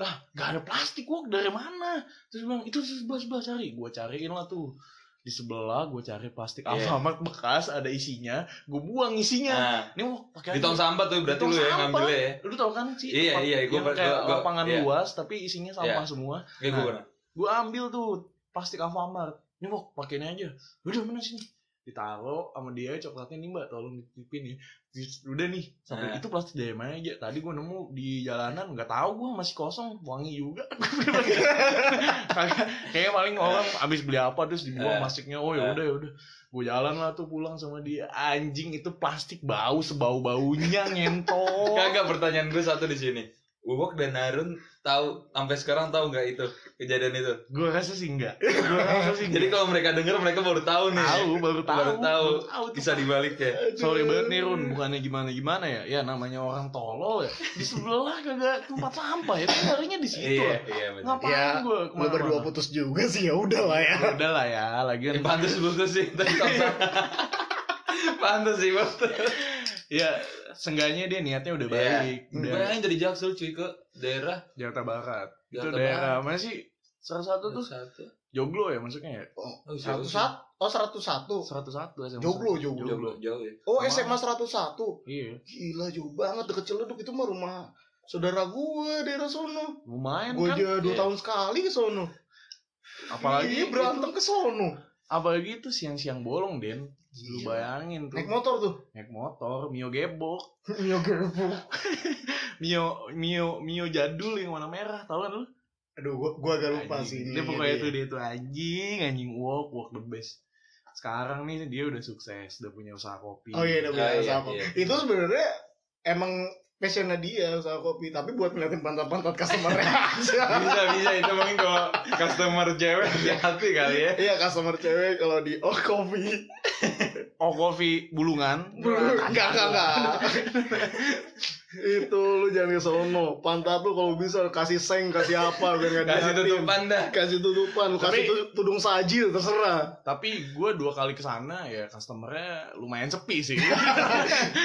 [SPEAKER 2] lah gak ada plastik wok dari mana terus dia bilang itu itu sebelah sebelah cari gue cariin lah tuh di sebelah gue cari plastik
[SPEAKER 1] Iya.
[SPEAKER 2] Alfamart bekas ada isinya gue buang isinya
[SPEAKER 1] nah.
[SPEAKER 2] ini wok pakai
[SPEAKER 1] Di tong
[SPEAKER 2] aja.
[SPEAKER 1] sampah tuh berarti
[SPEAKER 2] Di tong
[SPEAKER 1] lu ya
[SPEAKER 2] sampah.
[SPEAKER 1] ngambilnya ya.
[SPEAKER 2] lu tau kan sih
[SPEAKER 1] Iya,
[SPEAKER 2] tempat
[SPEAKER 1] iya, gua-
[SPEAKER 2] yang
[SPEAKER 1] gua-
[SPEAKER 2] kayak
[SPEAKER 1] gua-
[SPEAKER 2] lapangan
[SPEAKER 1] iya.
[SPEAKER 2] luas tapi isinya sampah semua
[SPEAKER 1] Kayak gue pernah.
[SPEAKER 2] gue ambil tuh plastik Alfamart ini wok pakainya aja udah mana sini ditaruh sama dia coklatnya nih mbak tolong dititipin ya Terus udah nih sampai
[SPEAKER 1] Nah.
[SPEAKER 2] itu plastik dari mana aja tadi gue nemu di jalanan nggak tahu gue masih kosong wangi juga [laughs] Kagak- kayaknya paling orang abis beli apa terus
[SPEAKER 1] Nah.
[SPEAKER 2] dibuang plastiknya oh ya udah ya udah gue jalan lah tuh pulang sama dia anjing itu plastik bau sebau baunya ngentot
[SPEAKER 1] Kagak pertanyaan gue satu di sini. Uwok dan Harun tahu sampai sekarang tahu nggak itu kejadian itu?
[SPEAKER 2] gue rasa sih enggak gue rasa [laughs] sih
[SPEAKER 1] Jadi
[SPEAKER 2] enggak
[SPEAKER 1] kalau mereka dengar mereka baru tahu nih.
[SPEAKER 2] tahu baru tahu
[SPEAKER 1] Baru tahu.
[SPEAKER 2] baru tahu tuh
[SPEAKER 1] Bisa dibalik ya.
[SPEAKER 2] Sorry banget nih Run, bukannya gimana-gimana ya Ya namanya orang tolol ya Di sebelah kagak tempat sampah ya Tapi larinya di situ
[SPEAKER 1] Iya,
[SPEAKER 2] lah.
[SPEAKER 1] iya benar.
[SPEAKER 2] Ngapain
[SPEAKER 3] Ya,
[SPEAKER 2] gue
[SPEAKER 3] Lu berdua putus juga sih ya udah lah ya.
[SPEAKER 2] Udah lah ya,
[SPEAKER 1] Eh,
[SPEAKER 2] lagian
[SPEAKER 1] pantas bagus sih. tadi
[SPEAKER 3] [laughs]
[SPEAKER 1] sama-sama. Pantas sih pantas.
[SPEAKER 2] Ya, seenggaknya dia niatnya udah
[SPEAKER 1] Iya.
[SPEAKER 2] baik Udah
[SPEAKER 1] Bayangin dari Jaksel cuy ke daerah
[SPEAKER 2] Jakarta Barat Itu
[SPEAKER 1] Jakarta
[SPEAKER 2] daerah, mana sih? Salah satu tuh
[SPEAKER 1] satu.
[SPEAKER 2] Joglo ya maksudnya ya?
[SPEAKER 1] Oh, jauh
[SPEAKER 3] Seratus
[SPEAKER 1] sih.
[SPEAKER 3] satu. Oh seratus satu.
[SPEAKER 2] 101 SMA.
[SPEAKER 3] Joglo, Joglo.
[SPEAKER 1] Jauh, jauh ya.
[SPEAKER 3] Oh
[SPEAKER 2] Sama.
[SPEAKER 3] SMA seratus satu.
[SPEAKER 2] Iya,
[SPEAKER 3] Gila jauh banget deket Ciledug itu mah rumah saudara gue daerah sono.
[SPEAKER 2] lumayan
[SPEAKER 3] Gue
[SPEAKER 2] kan
[SPEAKER 3] aja
[SPEAKER 1] Iya.
[SPEAKER 3] dua tahun sekali ke sono.
[SPEAKER 2] Apalagi
[SPEAKER 3] Iya, berantem ke sono.
[SPEAKER 2] Apalagi itu siang-siang bolong, Den Lu bayangin tuh
[SPEAKER 3] Naik motor tuh.
[SPEAKER 2] Naik motor, Mio gebok
[SPEAKER 3] Iya gerbu.
[SPEAKER 2] Mio Mio Mio jadul yang warna merah tahu kan lu?
[SPEAKER 3] Aduh, gua, gua agak lupa
[SPEAKER 2] Anjing.
[SPEAKER 3] sih ini.
[SPEAKER 2] Dia pokoknya
[SPEAKER 3] Iya,
[SPEAKER 2] itu
[SPEAKER 3] iya.
[SPEAKER 2] dia itu anjing, anjing walk, walk the best. Sekarang nih dia udah sukses, udah punya usaha kopi.
[SPEAKER 3] Oh iya, udah punya
[SPEAKER 1] Ah, iya,
[SPEAKER 3] usaha kopi.
[SPEAKER 1] iya.
[SPEAKER 3] Itu sebenarnya emang passionnya dia usaha kopi, tapi buat ngeliatin pantat-pantat customer aja.
[SPEAKER 1] Bisa bisa itu mungkin kalau customer cewek hati kali ya.
[SPEAKER 3] Iya, customer cewek kalau di oh kopi.
[SPEAKER 2] Oh kopi bulungan.
[SPEAKER 3] Enggak, enggak, enggak. [laughs] itu lu jangan ke sono. Pantat lu kalau bisa kasih seng, kasih apa biar enggak
[SPEAKER 1] Kasih tutupan
[SPEAKER 3] [laughs]
[SPEAKER 1] dah.
[SPEAKER 3] Kasih tutupan, lu kasih
[SPEAKER 2] Tapi-
[SPEAKER 3] tu- tudung saji
[SPEAKER 1] [laughs]
[SPEAKER 3] terserah.
[SPEAKER 2] Tapi gue dua kali ke sana ya customernya lumayan sepi sih.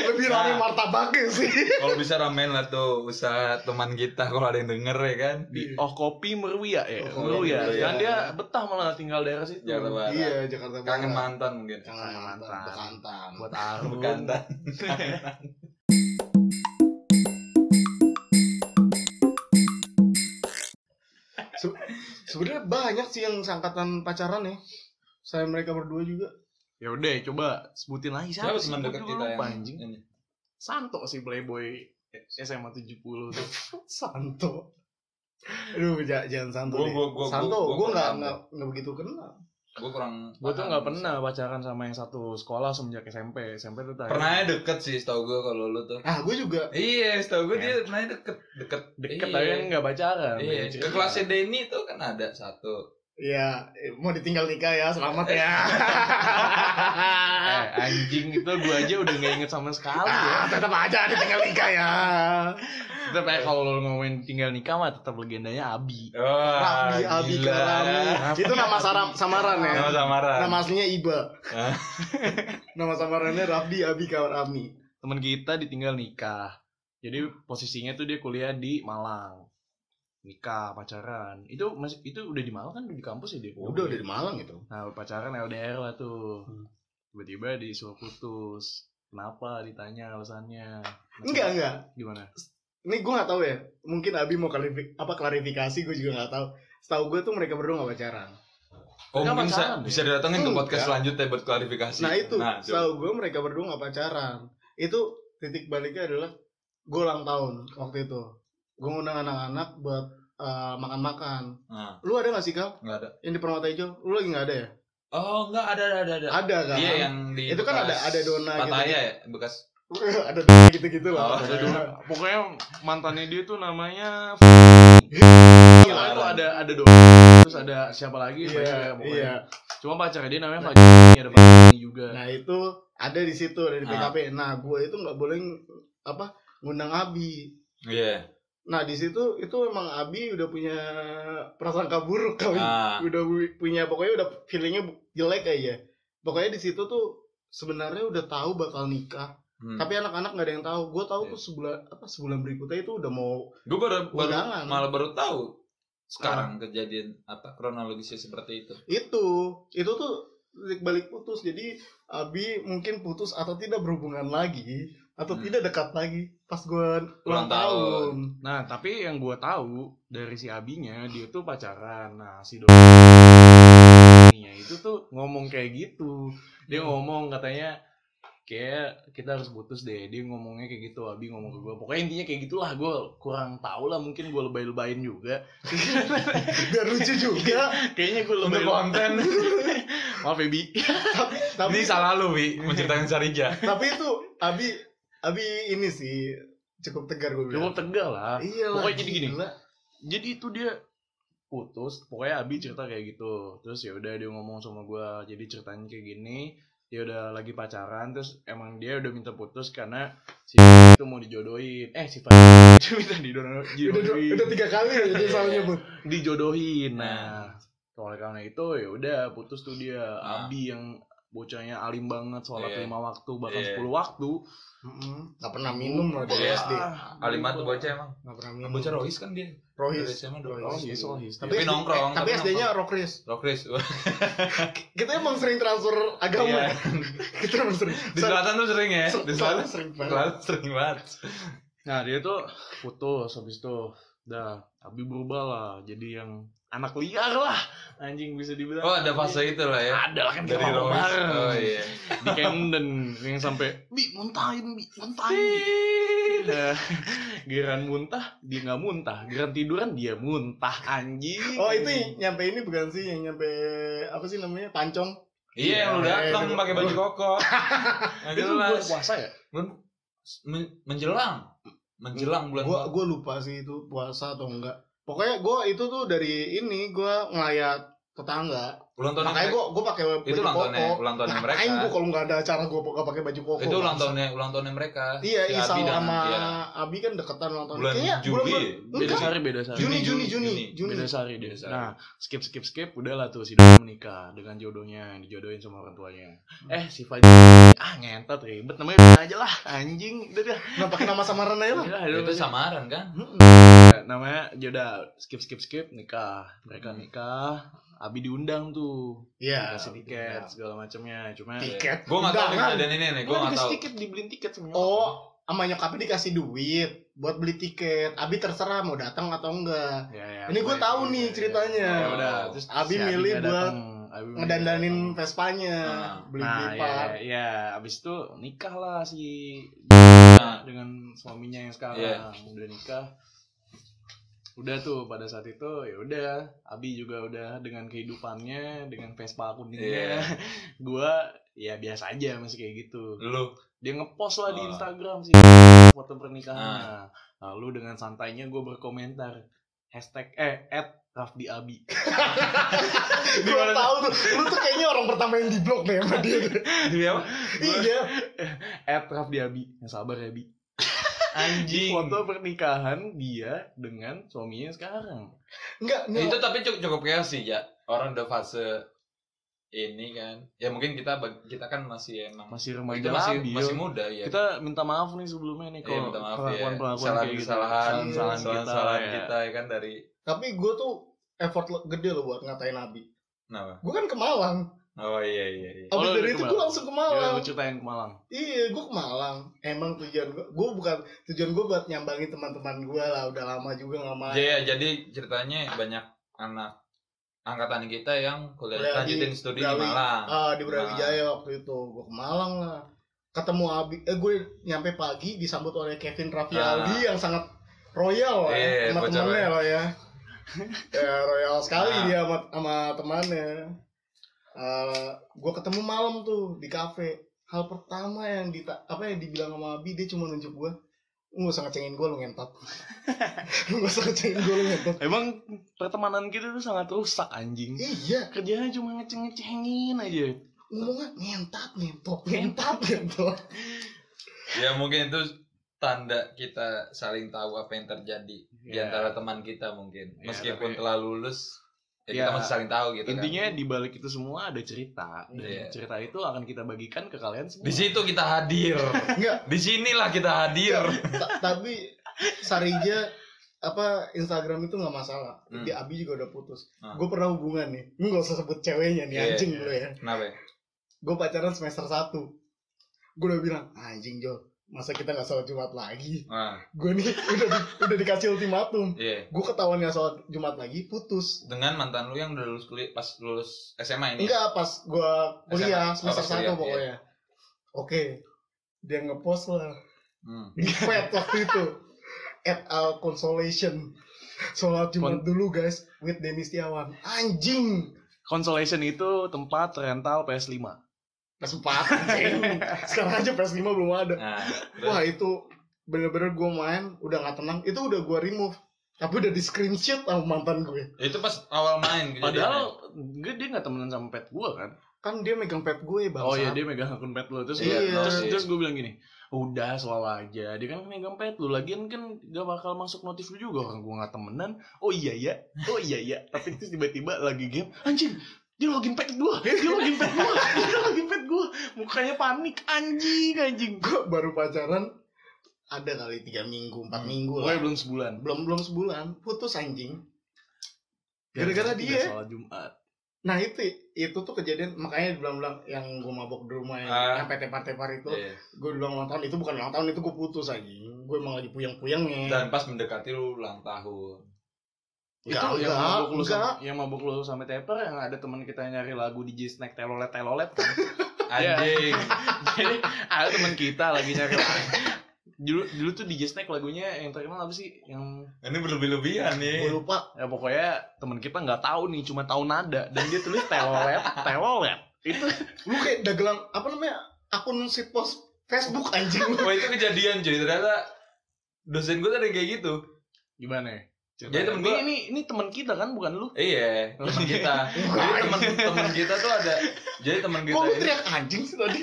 [SPEAKER 3] Lebih rame
[SPEAKER 1] Nah.
[SPEAKER 3] martabaknya sih.
[SPEAKER 1] Kalau bisa ramen lah tuh usaha teman kita kalau ada yang denger ya kan.
[SPEAKER 3] Iya.
[SPEAKER 2] Di Oh Kopi Meruya ya,
[SPEAKER 3] Oh, Kopi
[SPEAKER 2] Meruya. Iya.
[SPEAKER 1] Meruya.
[SPEAKER 2] Dan dia betah malah tinggal daerah situ.
[SPEAKER 1] Jakarta Barat.
[SPEAKER 3] Iya, Jakarta Barat.
[SPEAKER 1] Kangen mantan mungkin.
[SPEAKER 3] Kangen mantan,
[SPEAKER 2] Kangen mantan.
[SPEAKER 3] bekantan.
[SPEAKER 2] Buat Arun.
[SPEAKER 1] Bekantan.
[SPEAKER 3] Se- Sebenarnya banyak sih yang sangkatan pacaran ya. Saya mereka berdua juga.
[SPEAKER 2] ya udah coba sebutin lagi
[SPEAKER 1] Siapa
[SPEAKER 2] siapa sih?
[SPEAKER 1] teman
[SPEAKER 2] Gua
[SPEAKER 1] dekat
[SPEAKER 2] juga
[SPEAKER 1] kita yang
[SPEAKER 2] lupa, anjing.
[SPEAKER 1] ini?
[SPEAKER 2] Santo si Playboy SMA 70 [laughs] tuh.
[SPEAKER 3] Kan Santo. Aduh, ja- jangan Santo
[SPEAKER 1] Gua-
[SPEAKER 3] deh.
[SPEAKER 1] gua- gua-
[SPEAKER 3] Santo,
[SPEAKER 1] gua- gua
[SPEAKER 3] gue nggak
[SPEAKER 1] pernah.
[SPEAKER 3] nggak nggak begitu kenal.
[SPEAKER 1] Gue kurang.
[SPEAKER 2] Gue tuh
[SPEAKER 1] paham.
[SPEAKER 2] nggak pernah pacaran sama yang satu sekolah semenjak SMP. SMP tuh tadi.
[SPEAKER 1] Pernah ya? deket sih, setahu gue kalau lu tuh.
[SPEAKER 3] Ah, gue juga.
[SPEAKER 1] Iya, setahu gue dia pernah deket, deket,
[SPEAKER 2] deket
[SPEAKER 1] Iya.
[SPEAKER 2] tapi kan nggak pacaran.
[SPEAKER 1] Iya, ke
[SPEAKER 2] Beda cerita.
[SPEAKER 1] kelasnya Denny tuh kan ada satu.
[SPEAKER 3] Ya, eh, mau ditinggal nikah ya, selamat
[SPEAKER 1] [laughs]
[SPEAKER 3] ya.
[SPEAKER 2] Eh, anjing itu gue aja udah nggak inget sama sekali ya.
[SPEAKER 3] ah, tetap aja ditinggal nikah ya.
[SPEAKER 2] Tetap eh kalau lo ngomongin tinggal nikah mah tetap legendanya Abi.
[SPEAKER 1] Wah,
[SPEAKER 3] Rambi, Abi
[SPEAKER 1] Ah, gila.
[SPEAKER 3] Karami. Itu nama sarap, samaran ya.
[SPEAKER 1] Nama Ah. samaran.
[SPEAKER 3] Nama aslinya Iba.
[SPEAKER 1] Hah?
[SPEAKER 3] [laughs] Nama samarannya Rafdi Abi Karami.
[SPEAKER 2] Temen kita ditinggal nikah. Jadi posisinya tuh dia kuliah di Malang. Nikah pacaran. Itu masih itu udah di Malang kan udah di kampus ya dia.
[SPEAKER 3] Udah udah di Malang itu.
[SPEAKER 2] Nah pacaran LDR lah tuh.
[SPEAKER 3] Hmm.
[SPEAKER 2] Tiba-tiba disuruh putus. Kenapa ditanya alasannya?
[SPEAKER 3] Enggak, enggak.
[SPEAKER 2] Gimana?
[SPEAKER 3] Ini gue gak tahu ya. Mungkin Abi mau klarifi- apa klarifikasi gue juga gak tahu. Setahu gue tuh mereka berdua gak pacaran.
[SPEAKER 1] Oh,
[SPEAKER 2] Nama
[SPEAKER 1] mungkin bisa,
[SPEAKER 2] sarap ya?
[SPEAKER 1] bisa didatengin ke
[SPEAKER 3] Enggak.
[SPEAKER 1] podcast selanjutnya buat klarifikasi.
[SPEAKER 3] Nah itu,
[SPEAKER 1] coba.
[SPEAKER 3] setahu gue mereka berdua gak pacaran. Itu titik baliknya adalah gue ulang tahun waktu itu. Gue ngundang anak-anak buat eh, makan-makan.
[SPEAKER 1] Nah,
[SPEAKER 3] Lu ada gak sih kal?
[SPEAKER 1] enggak ada.
[SPEAKER 3] Yang di Permata Hijau? Lu lagi gak ada ya?
[SPEAKER 1] Oh, enggak ada ada ada. ada.
[SPEAKER 3] Ada kan?
[SPEAKER 1] Iya, yang di
[SPEAKER 3] Itu kan ada-
[SPEAKER 1] bekas
[SPEAKER 3] ada dona gitu.
[SPEAKER 1] Pataya ya, bekas.
[SPEAKER 3] [laughs] ada dulu gitu-gitu
[SPEAKER 1] Oh,
[SPEAKER 3] lah.
[SPEAKER 1] ada
[SPEAKER 2] dulu. Pokoknya mantannya dia tuh namanya
[SPEAKER 3] Iya,
[SPEAKER 2] Pokoknya tuh ada ada dua terus ada siapa lagi banyak ya
[SPEAKER 3] Iya,
[SPEAKER 2] pokoknya.
[SPEAKER 3] iya.
[SPEAKER 2] Cuma pacarnya dia namanya Fadini, ada Fadini juga.
[SPEAKER 3] Nah itu ada di situ ada di
[SPEAKER 1] Ah.
[SPEAKER 3] PKP. Nah gue itu nggak boleh apa ngundang Abi.
[SPEAKER 1] Iya.
[SPEAKER 3] Nah di situ itu emang Abi udah punya prasangka buruk kali.
[SPEAKER 1] Ah,
[SPEAKER 3] Udah bu- punya pokoknya udah feelingnya bu- jelek aja. Pokoknya di situ tuh sebenarnya udah tahu bakal nikah.
[SPEAKER 1] hmm.
[SPEAKER 3] Tapi anak-anak nggak ada yang tahu. Gue tahu
[SPEAKER 1] Iya.
[SPEAKER 3] tuh sebulan apa sebulan berikutnya itu udah mau
[SPEAKER 1] Gue baru, baru
[SPEAKER 3] undangan.
[SPEAKER 1] malah baru tahu
[SPEAKER 3] Ah.
[SPEAKER 1] sekarang kejadian apa kronologisnya seperti itu.
[SPEAKER 3] Itu itu tuh titik balik putus. Jadi Abi mungkin putus atau tidak berhubungan lagi atau
[SPEAKER 1] Hmm.
[SPEAKER 3] tidak dekat lagi pas gue ulang
[SPEAKER 1] Ulang
[SPEAKER 3] tahun.
[SPEAKER 1] tahun.
[SPEAKER 2] Nah, tapi yang gue tahu dari si abinya dia tuh pacaran. Nah, si do Ininya itu tuh ngomong kayak gitu. Dia ngomong katanya kayak kita harus putus deh. Dia ngomongnya kayak gitu. Abi ngomong ke gue. Pokoknya intinya kayak gitulah. Gue kurang tahu lah. Mungkin gue lebay-lebayin juga.
[SPEAKER 3] Biar lucu juga.
[SPEAKER 2] Kayaknya gue
[SPEAKER 1] Untuk
[SPEAKER 2] lebay.
[SPEAKER 1] konten.
[SPEAKER 2] Maaf ya, Bi.
[SPEAKER 3] tapi tapi
[SPEAKER 1] Ini salah lu, Wi, menceritakan Sarija.
[SPEAKER 3] tapi itu Abi Abi ini sih cukup tegar gue
[SPEAKER 2] Cukup
[SPEAKER 3] bilang.
[SPEAKER 2] tegar lah.
[SPEAKER 3] Iya
[SPEAKER 2] Pokoknya jadi gini. jadi itu dia putus pokoknya Abi cerita kayak gitu terus ya udah dia ngomong sama gua jadi ceritanya kayak gini dia udah lagi pacaran terus emang dia udah minta putus karena si [laughs] itu mau dijodohin eh si [laughs] itu minta didono-
[SPEAKER 3] Udah, udah,
[SPEAKER 2] dijodohin
[SPEAKER 3] udah tiga kali ya dia salah nyebut.
[SPEAKER 2] dijodohin nah oleh karena itu ya udah putus tuh dia
[SPEAKER 1] Nah.
[SPEAKER 2] Abi yang bocahnya alim banget sholat
[SPEAKER 1] Iya.
[SPEAKER 2] lima waktu bahkan
[SPEAKER 1] Iya.
[SPEAKER 2] sepuluh waktu
[SPEAKER 3] Mm-mm. Nggak pernah minum loh dari
[SPEAKER 1] Iya.
[SPEAKER 3] SD.
[SPEAKER 2] Ah,
[SPEAKER 1] Kalimat tuh bocah emang.
[SPEAKER 3] Nggak pernah minum.
[SPEAKER 1] Bocah Rohis kan dia.
[SPEAKER 3] Rohis.
[SPEAKER 1] Dari SMA dulu.
[SPEAKER 3] Rohis.
[SPEAKER 2] Rohis, rohis.
[SPEAKER 1] Tapi
[SPEAKER 3] SD
[SPEAKER 1] nongkrong,
[SPEAKER 3] Tapi,
[SPEAKER 1] tapi
[SPEAKER 3] SD-nya Rokris.
[SPEAKER 1] Rohis.
[SPEAKER 3] Kita emang sering transfer [laughs] agama.
[SPEAKER 1] Iya.
[SPEAKER 3] ya? Kita emang sering.
[SPEAKER 1] Di selatan tuh sering ya. Di selatan
[SPEAKER 3] sering banget.
[SPEAKER 1] selatan sering banget.
[SPEAKER 2] Nah dia tuh putus habis itu Dah, Abi berubah lah jadi yang anak liar lah anjing bisa dibilang.
[SPEAKER 1] Oh, ada fase itu lah ya.
[SPEAKER 2] Ada lah kan kita
[SPEAKER 1] Dari
[SPEAKER 2] mabok
[SPEAKER 1] Rohis.
[SPEAKER 2] bareng.
[SPEAKER 1] Oh iya.
[SPEAKER 2] Di Camden yang sampai bi muntahin bi muntahin. Bi." Nah, Giran muntah dia nggak muntah, giran tiduran dia muntah anjing.
[SPEAKER 3] Oh itu yang nyampe ini bukan sih yang nyampe apa sih namanya pancong?
[SPEAKER 1] Iya, yang lu
[SPEAKER 3] Iya,
[SPEAKER 1] datang
[SPEAKER 3] iya.
[SPEAKER 1] pakai baju koko.
[SPEAKER 3] [laughs]
[SPEAKER 1] Nggak
[SPEAKER 2] itu bulan
[SPEAKER 1] jelas.
[SPEAKER 2] puasa ya?
[SPEAKER 1] Bulan- men- menjelang menjelang bulan
[SPEAKER 3] Gua gua lupa sih itu puasa atau enggak. Pokoknya gua itu tuh dari ini gua ngelayat tetangga.
[SPEAKER 1] ulang tahun
[SPEAKER 3] Makanya gua gua pakai baju
[SPEAKER 1] itu ulang tahunnya
[SPEAKER 3] koko.
[SPEAKER 1] ulang tahunnya mereka
[SPEAKER 3] Ngapain gua kalau nggak ada acara gua nggak pakai baju koko.
[SPEAKER 1] itu ulang tahunnya ulang tahunnya mereka
[SPEAKER 3] Iya,
[SPEAKER 1] si
[SPEAKER 3] Isal
[SPEAKER 1] Abi dan
[SPEAKER 3] sama
[SPEAKER 1] Tiara.
[SPEAKER 3] Abi kan deketan ulang tahun.
[SPEAKER 1] bulan
[SPEAKER 3] Kayaknya
[SPEAKER 1] Juli
[SPEAKER 3] bulan-
[SPEAKER 2] Beda
[SPEAKER 3] Enggak.
[SPEAKER 2] sehari beda sehari.
[SPEAKER 3] Juni Juni Juni
[SPEAKER 1] Juni.
[SPEAKER 3] Juni.
[SPEAKER 2] Beda sehari dia.
[SPEAKER 1] Beda sehari.
[SPEAKER 2] Nah, skip skip skip udahlah tuh si Doni menikah dengan jodohnya, dijodohin sama orang tuanya. Eh si Fajar ah ngentot ribet namanya Doni aja lah anjing udah dah.
[SPEAKER 3] Nah pakai nama samaran aja lah.
[SPEAKER 2] Udah,
[SPEAKER 1] Ya,
[SPEAKER 2] udah,
[SPEAKER 1] itu
[SPEAKER 2] udah.
[SPEAKER 1] samaran kan
[SPEAKER 2] Ya, namanya jodoh skip skip skip nikah. Mereka
[SPEAKER 1] Hmm.
[SPEAKER 2] nikah. Abi diundang tuh,
[SPEAKER 3] Iya.
[SPEAKER 2] dikasih tiket segala macamnya. ya Cuma
[SPEAKER 3] Tiket.
[SPEAKER 1] gue nggak tahu nih
[SPEAKER 3] Undangan.
[SPEAKER 1] kejadian ini nih gue nggak
[SPEAKER 2] Iya. dikasih
[SPEAKER 1] tahu
[SPEAKER 2] tiket dibeliin tiket sama nyokap.
[SPEAKER 3] Oh, sama nyokapnya dikasih duit buat beli tiket. Abi terserah mau datang atau enggak.
[SPEAKER 2] Ya, ya,
[SPEAKER 3] Ini gua
[SPEAKER 2] pokoknya
[SPEAKER 3] tahu
[SPEAKER 2] gitu,
[SPEAKER 3] nih
[SPEAKER 2] ya, ya.
[SPEAKER 3] ceritanya.
[SPEAKER 2] Ya udah, terus
[SPEAKER 3] Abi
[SPEAKER 2] si
[SPEAKER 3] milih
[SPEAKER 2] nggak
[SPEAKER 3] buat
[SPEAKER 2] datang. Abi milih nggak datang.
[SPEAKER 3] Ngedandanin Vespanya, beli beli
[SPEAKER 2] Nah, ya,
[SPEAKER 3] part.
[SPEAKER 2] ya, abis itu nikah lah si
[SPEAKER 1] Nah,
[SPEAKER 2] dengan suaminya yang sekarang
[SPEAKER 1] Iya.
[SPEAKER 2] udah nikah. Udah tuh pada saat itu ya udah, Abi juga udah dengan kehidupannya, dengan Vespa
[SPEAKER 1] Iya.
[SPEAKER 2] kuningnya. [laughs] Gua ya biasa aja masih kayak gitu.
[SPEAKER 1] lu
[SPEAKER 2] Dia ngepost lah di
[SPEAKER 1] Oh. Ah.
[SPEAKER 2] Instagram sih foto pernikahan. Lalu dengan santainya gue berkomentar hashtag eh at Rafdi Abi. [laughs]
[SPEAKER 3] Gue tahu tuh, lu tuh kayaknya orang pertama yang di blok nih sama dia.
[SPEAKER 1] Demi apa?
[SPEAKER 3] iya.
[SPEAKER 2] at Rafdi Abi. Yang sabar ya Abi.
[SPEAKER 1] anjing
[SPEAKER 2] foto pernikahan dia dengan suaminya sekarang.
[SPEAKER 3] Enggak,
[SPEAKER 1] Nah,
[SPEAKER 3] enggak.
[SPEAKER 1] itu tapi cukup cukup chaos sih ya orang udah fase ini kan ya mungkin kita bag- kita kan masih emang
[SPEAKER 2] Masih
[SPEAKER 1] kita
[SPEAKER 2] remaja
[SPEAKER 1] masih
[SPEAKER 2] labil.
[SPEAKER 1] masih muda ya
[SPEAKER 2] Kita minta maaf nih sebelumnya nih
[SPEAKER 1] Iya,
[SPEAKER 2] kalau
[SPEAKER 1] minta maaf ya.
[SPEAKER 2] perlakuan-perlakuan
[SPEAKER 1] Kesalahan-
[SPEAKER 2] kayak gitu.
[SPEAKER 1] kesalahan,
[SPEAKER 2] Kesalahan-kesalahan
[SPEAKER 1] kesalahan
[SPEAKER 2] kita,
[SPEAKER 1] kesalahan
[SPEAKER 2] ya.
[SPEAKER 1] kita ya kan dari
[SPEAKER 3] Tapi gue tuh effort lo- gede loh buat ngatain Abi.
[SPEAKER 1] kenapa?
[SPEAKER 3] Gue kan ke Malang.
[SPEAKER 1] Oh iya iya iya.
[SPEAKER 2] Oh,
[SPEAKER 3] Abis
[SPEAKER 2] lu
[SPEAKER 3] dari
[SPEAKER 2] ke
[SPEAKER 3] itu gue
[SPEAKER 2] Malang.
[SPEAKER 3] langsung ke
[SPEAKER 2] Yaudah,
[SPEAKER 3] Malang.
[SPEAKER 2] lu ceritain ke iya, Malang.
[SPEAKER 3] Iya, gue ke Malang. Emang tujuan gue, gue bukan tujuan gue buat nyambangin teman-teman gue lah. Udah lama juga nggak main.
[SPEAKER 1] Iya, jadi ceritanya banyak anak angkatan kita yang
[SPEAKER 3] Kuliah
[SPEAKER 1] kuliah
[SPEAKER 3] di
[SPEAKER 1] lanjutin studi di
[SPEAKER 3] Brawi.
[SPEAKER 1] Malang.
[SPEAKER 3] Ah, di Brawijaya waktu itu gue ke Malang lah. Ketemu Abi, eh gue nyampe pagi disambut oleh Kevin Raffialdi yang sangat royal lah
[SPEAKER 1] Iya,
[SPEAKER 3] ya, sama
[SPEAKER 1] bocah
[SPEAKER 3] temannya lah ya. ya royal sekali
[SPEAKER 1] Nah.
[SPEAKER 3] dia sama, sama temannya. Eh, gue ketemu malam tuh di kafe. Hal pertama yang di apa yang dibilang sama Abi dia cuma nunjuk gue. Lu gak usah ngecengin gue lu ngentot. lu gak usah ngecengin gue lu ngentot.
[SPEAKER 2] Emang pertemanan kita tuh sangat rusak anjing.
[SPEAKER 3] Iya,
[SPEAKER 2] Kerjanya cuma ngeceng-ngecengin aja.
[SPEAKER 3] ngomongnya ngentot, ngentot, ngentot, ngentot.
[SPEAKER 1] Ya mungkin itu tanda kita saling tahu apa yang terjadi di
[SPEAKER 2] Ya.
[SPEAKER 1] antara teman kita mungkin.
[SPEAKER 2] Ya,
[SPEAKER 1] Meskipun
[SPEAKER 2] tapi-
[SPEAKER 1] telah lulus, ya kita
[SPEAKER 2] Ya,
[SPEAKER 1] masih saling tahu gitu kan.
[SPEAKER 2] Intinya di balik itu semua ada cerita. Dan
[SPEAKER 1] Iya.
[SPEAKER 2] cerita itu akan kita bagikan ke kalian semua.
[SPEAKER 1] di situ kita
[SPEAKER 2] [laughs]
[SPEAKER 1] hadir.
[SPEAKER 3] Enggak,
[SPEAKER 1] di sinilah kita hadir.
[SPEAKER 3] Ta- tapi Sarija apa Instagram itu nggak masalah.
[SPEAKER 1] Hmm.
[SPEAKER 3] Di Abi juga udah putus.
[SPEAKER 1] Ah.
[SPEAKER 3] Gue pernah hubungan nih. Gue nggak usah sebut ceweknya nih
[SPEAKER 1] Iya,
[SPEAKER 3] anjing
[SPEAKER 1] iya.
[SPEAKER 3] lu ya.
[SPEAKER 1] Kenapa? ya?
[SPEAKER 3] Gue pacaran semester 1 Gue udah bilang anjing Jol. masa kita nggak sholat Jumat lagi?
[SPEAKER 1] Nah,
[SPEAKER 3] Gue nih [laughs] udah di- udah dikasih ultimatum.
[SPEAKER 1] iya.
[SPEAKER 3] Gue ketahuan nggak sholat Jumat lagi, putus.
[SPEAKER 1] Dengan mantan lu yang udah lulus kuliah pas lulus SMA ini. ya?
[SPEAKER 3] Enggak pas gue kuliah
[SPEAKER 1] SMA, oh, Iya.
[SPEAKER 3] semester
[SPEAKER 1] pas
[SPEAKER 3] satu
[SPEAKER 1] kuliah,
[SPEAKER 3] pokoknya. Oke, dia ngepost lah
[SPEAKER 1] Hmm.
[SPEAKER 3] Pet waktu itu at our consolation sholat Jumat dulu guys with Denny Setiawan anjing
[SPEAKER 2] Consolation itu tempat rental PS5.
[SPEAKER 3] PS4 anjing
[SPEAKER 2] [laughs]
[SPEAKER 3] sekarang aja PS5 belum ada
[SPEAKER 1] Nah, terus-
[SPEAKER 3] wah itu bener-bener gue main udah nggak tenang itu udah gue remove tapi udah di screenshot sama mantan gue
[SPEAKER 1] itu pas awal main kejadiannya.
[SPEAKER 2] Padahal gue dia nggak temenan sama pet gue kan.
[SPEAKER 3] kan dia megang pet gue bang
[SPEAKER 2] Oh iya dia megang akun pet lu terus gua-
[SPEAKER 3] Iya.
[SPEAKER 2] terus,
[SPEAKER 1] Iya.
[SPEAKER 2] terus gue bilang gini, udah selalu aja. Dia kan megang pet lu lagian kan gak bakal masuk notif lu juga kan gue nggak temenan. Oh iya ya, oh iya ya. Tapi terus tiba-tiba lagi game, anjing dia login pet gue, dia login pet gue, dia [laughs] login pet gue. Mukanya panik, anjing anjing.
[SPEAKER 3] gue baru pacaran ada kali tiga minggu
[SPEAKER 2] Hmm.
[SPEAKER 3] empat minggu lah
[SPEAKER 2] Pokoknya belum sebulan.
[SPEAKER 3] belum belum sebulan putus anjing Gara-gara
[SPEAKER 2] Tidak
[SPEAKER 3] dia. ya?
[SPEAKER 2] Sholat Jumat.
[SPEAKER 3] Nah itu itu tuh kejadian makanya bilang-bilang yang gue mabok di rumah yang,
[SPEAKER 1] Ah.
[SPEAKER 3] yang PT-PT-par itu
[SPEAKER 1] Iya.
[SPEAKER 3] gue bilang ulang tahun itu bukan ulang tahun itu gue putus aja gue emang lagi puyeng-puyengnya
[SPEAKER 1] Dan pas mendekati lu ulang tahun.
[SPEAKER 2] Itu yang
[SPEAKER 3] Enggak, Ya enggak,
[SPEAKER 2] mabuk lu sama,
[SPEAKER 3] enggak.
[SPEAKER 2] yang mabuk lu sama Tepper yang ada teman kita nyari lagu DJ Snack Telolet Telolet kan.
[SPEAKER 1] Anjing.
[SPEAKER 2] Jadi ada teman kita lagi nyari lagu. Dulu dulu tuh DJ Snack lagunya yang terkenal apa sih? Yang
[SPEAKER 1] Ini berlebih-lebihan
[SPEAKER 3] gue
[SPEAKER 1] nih.
[SPEAKER 3] lupa
[SPEAKER 2] ya pokoknya teman kita nggak tahu nih, cuma tahu nada dan dia tulis Telolet Telolet. Itu
[SPEAKER 3] lu kayak dagelan apa namanya akun sitpos Facebook anjing
[SPEAKER 1] [laughs]
[SPEAKER 3] lu
[SPEAKER 1] Wah itu kejadian cuy ternyata dosen gue tadi kayak gitu.
[SPEAKER 2] gimana ya?
[SPEAKER 1] Jadi temen gua-
[SPEAKER 2] ini ini, ini teman kita kan bukan lu.
[SPEAKER 1] Iya, teman kita. jadi teman teman kita tuh ada gitu, jadi teman
[SPEAKER 3] kok
[SPEAKER 1] kita
[SPEAKER 3] lu
[SPEAKER 1] ini-
[SPEAKER 3] teriak anjing sih
[SPEAKER 1] [laughs]
[SPEAKER 3] tadi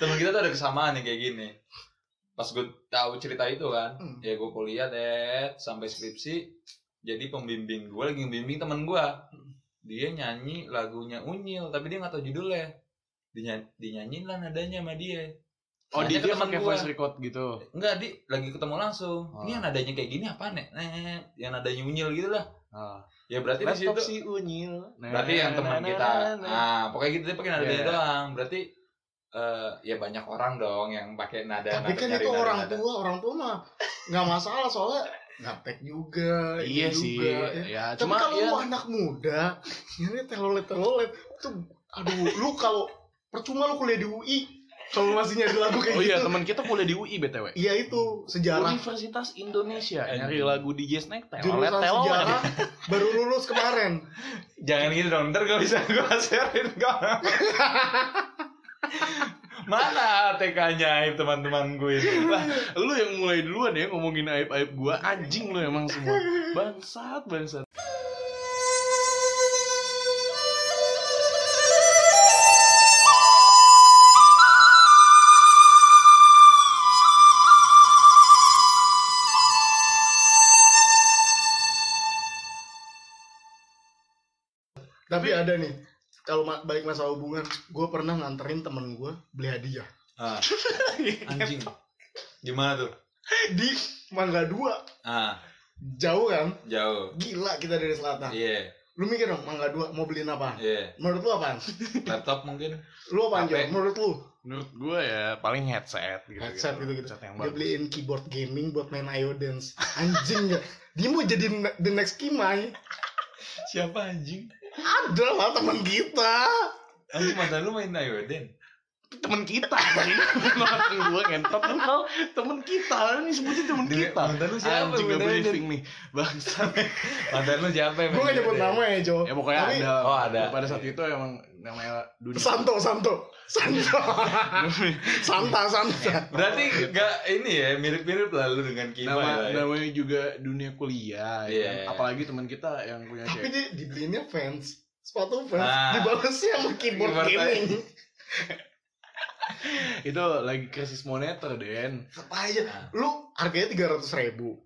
[SPEAKER 1] teman kita tuh ada kesamaan yang kayak gini. Pas gue tahu cerita itu kan,
[SPEAKER 3] Hmm.
[SPEAKER 1] ya gue kuliah deh sampai skripsi. Jadi pembimbing gue lagi ngebimbing teman gue. Dia nyanyi lagunya Unyil tapi dia nggak tahu judulnya. Dinya- dinyanyiin lah nadanya sama dia.
[SPEAKER 2] Oh, dia,
[SPEAKER 1] Nanya ke
[SPEAKER 2] dia
[SPEAKER 1] teman
[SPEAKER 2] pakai
[SPEAKER 1] gua.
[SPEAKER 2] voice record gitu.
[SPEAKER 1] Enggak, di lagi ketemu langsung.
[SPEAKER 2] Oh.
[SPEAKER 1] Ini yang nadanya kayak gini apaan ya? Eh, yang nadanya unyil gitu lah.
[SPEAKER 2] Ah.
[SPEAKER 1] Ya berarti di
[SPEAKER 2] Laptop
[SPEAKER 1] situ
[SPEAKER 2] si unyil.
[SPEAKER 1] berarti yang teman kita.
[SPEAKER 2] Ah,
[SPEAKER 1] Nah, pokoknya gitu dia pakai nada
[SPEAKER 2] Iya.
[SPEAKER 1] dia doang. Berarti eh ya banyak orang dong yang pakai nada nada
[SPEAKER 3] tapi kan
[SPEAKER 1] nyari
[SPEAKER 3] itu
[SPEAKER 1] nada-
[SPEAKER 3] orang [laughs]
[SPEAKER 1] nada.
[SPEAKER 3] tua orang tua mah nggak masalah soalnya gaptek juga ini
[SPEAKER 2] Iya sih.
[SPEAKER 3] juga, ya.
[SPEAKER 2] Ya,
[SPEAKER 3] tapi
[SPEAKER 2] cuma
[SPEAKER 3] kalau
[SPEAKER 2] ya,
[SPEAKER 3] lu anak muda ya ini telolet telolet tuh aduh lu kalau percuma lu kuliah di UI kalau masih nyari lagu kayak
[SPEAKER 2] Oh iya,
[SPEAKER 3] gitu
[SPEAKER 2] teman kita kuliah di UI BTW.
[SPEAKER 3] iya itu sejarah
[SPEAKER 2] Universitas Indonesia
[SPEAKER 1] Anjing.
[SPEAKER 2] nyari lagu DJ Snack telolet
[SPEAKER 3] jurusan
[SPEAKER 2] telolet.
[SPEAKER 3] sejarah baru lulus kemarin
[SPEAKER 1] Jangan gitu dong, ntar gak bisa gue sharein ke
[SPEAKER 2] [laughs]
[SPEAKER 1] orang. Mana TK-nya aib teman-teman gue ini?
[SPEAKER 2] Lah, lu yang mulai duluan ya ngomongin aib-aib gua. Anjing lu emang semua. Bangsat, bangsat.
[SPEAKER 3] tapi ada nih kalau ma- balik masalah hubungan gue pernah nganterin temen gue beli hadiah
[SPEAKER 1] Ah, anjing. Gimana tuh?
[SPEAKER 3] di Mangga Dua
[SPEAKER 1] Ah,
[SPEAKER 3] jauh kan
[SPEAKER 1] jauh.
[SPEAKER 3] gila kita dari selatan
[SPEAKER 1] Iya,
[SPEAKER 3] lu mikir dong Mangga Dua mau beliin apa
[SPEAKER 1] iya.
[SPEAKER 3] menurut lu apaan
[SPEAKER 1] Laptop mungkin.
[SPEAKER 3] lu apaan Jo?
[SPEAKER 2] ya?
[SPEAKER 1] HP.
[SPEAKER 3] menurut lu
[SPEAKER 2] Menurut gua ya paling headset gitu.
[SPEAKER 3] headset gitu gitu
[SPEAKER 2] Headset yang
[SPEAKER 3] dia
[SPEAKER 2] bagus.
[SPEAKER 3] beliin keyboard gaming buat main iodance anjing ya dia mau jadi ne- the next kimai
[SPEAKER 1] Siapa anjing?
[SPEAKER 3] ada lah teman kita
[SPEAKER 1] Anjing mantan lu main Ayoden.
[SPEAKER 2] Temen kita. anjing. [laughs] Maafin gua ngentot lu tau. Temen kita. Ini sebutnya temen
[SPEAKER 1] Dia-
[SPEAKER 2] kita.
[SPEAKER 1] mantan lu siapa,
[SPEAKER 2] Anjing gak
[SPEAKER 1] mantan lu?
[SPEAKER 2] briefing nih.
[SPEAKER 1] [laughs]
[SPEAKER 2] Bangsat.
[SPEAKER 1] Mantan lu siapa
[SPEAKER 3] gue gak nyebut nama ya Jo
[SPEAKER 2] Iya, Ya pokoknya
[SPEAKER 3] Tapi-
[SPEAKER 2] ada.
[SPEAKER 1] Oh, ada.
[SPEAKER 2] Pada saat itu emang namanya dunia.
[SPEAKER 3] Santo Santo
[SPEAKER 2] [laughs]
[SPEAKER 3] Santo Santa
[SPEAKER 2] Iya,
[SPEAKER 3] Santa
[SPEAKER 1] Berarti gak ini ya mirip-mirip lah lu dengan Kima
[SPEAKER 2] Nama-
[SPEAKER 1] lah ya.
[SPEAKER 2] namanya juga dunia kuliah ya kan?
[SPEAKER 1] Iya.
[SPEAKER 2] apalagi teman kita yang punya cewek
[SPEAKER 3] tapi dia dibeliinnya fans sepatu fans
[SPEAKER 1] Ah.
[SPEAKER 3] dibalasnya sama keyboard
[SPEAKER 1] Keyboard
[SPEAKER 3] gaming
[SPEAKER 2] itu lagi krisis moneter den
[SPEAKER 3] apa aja
[SPEAKER 1] Ah.
[SPEAKER 3] lu harganya tiga ratus ribu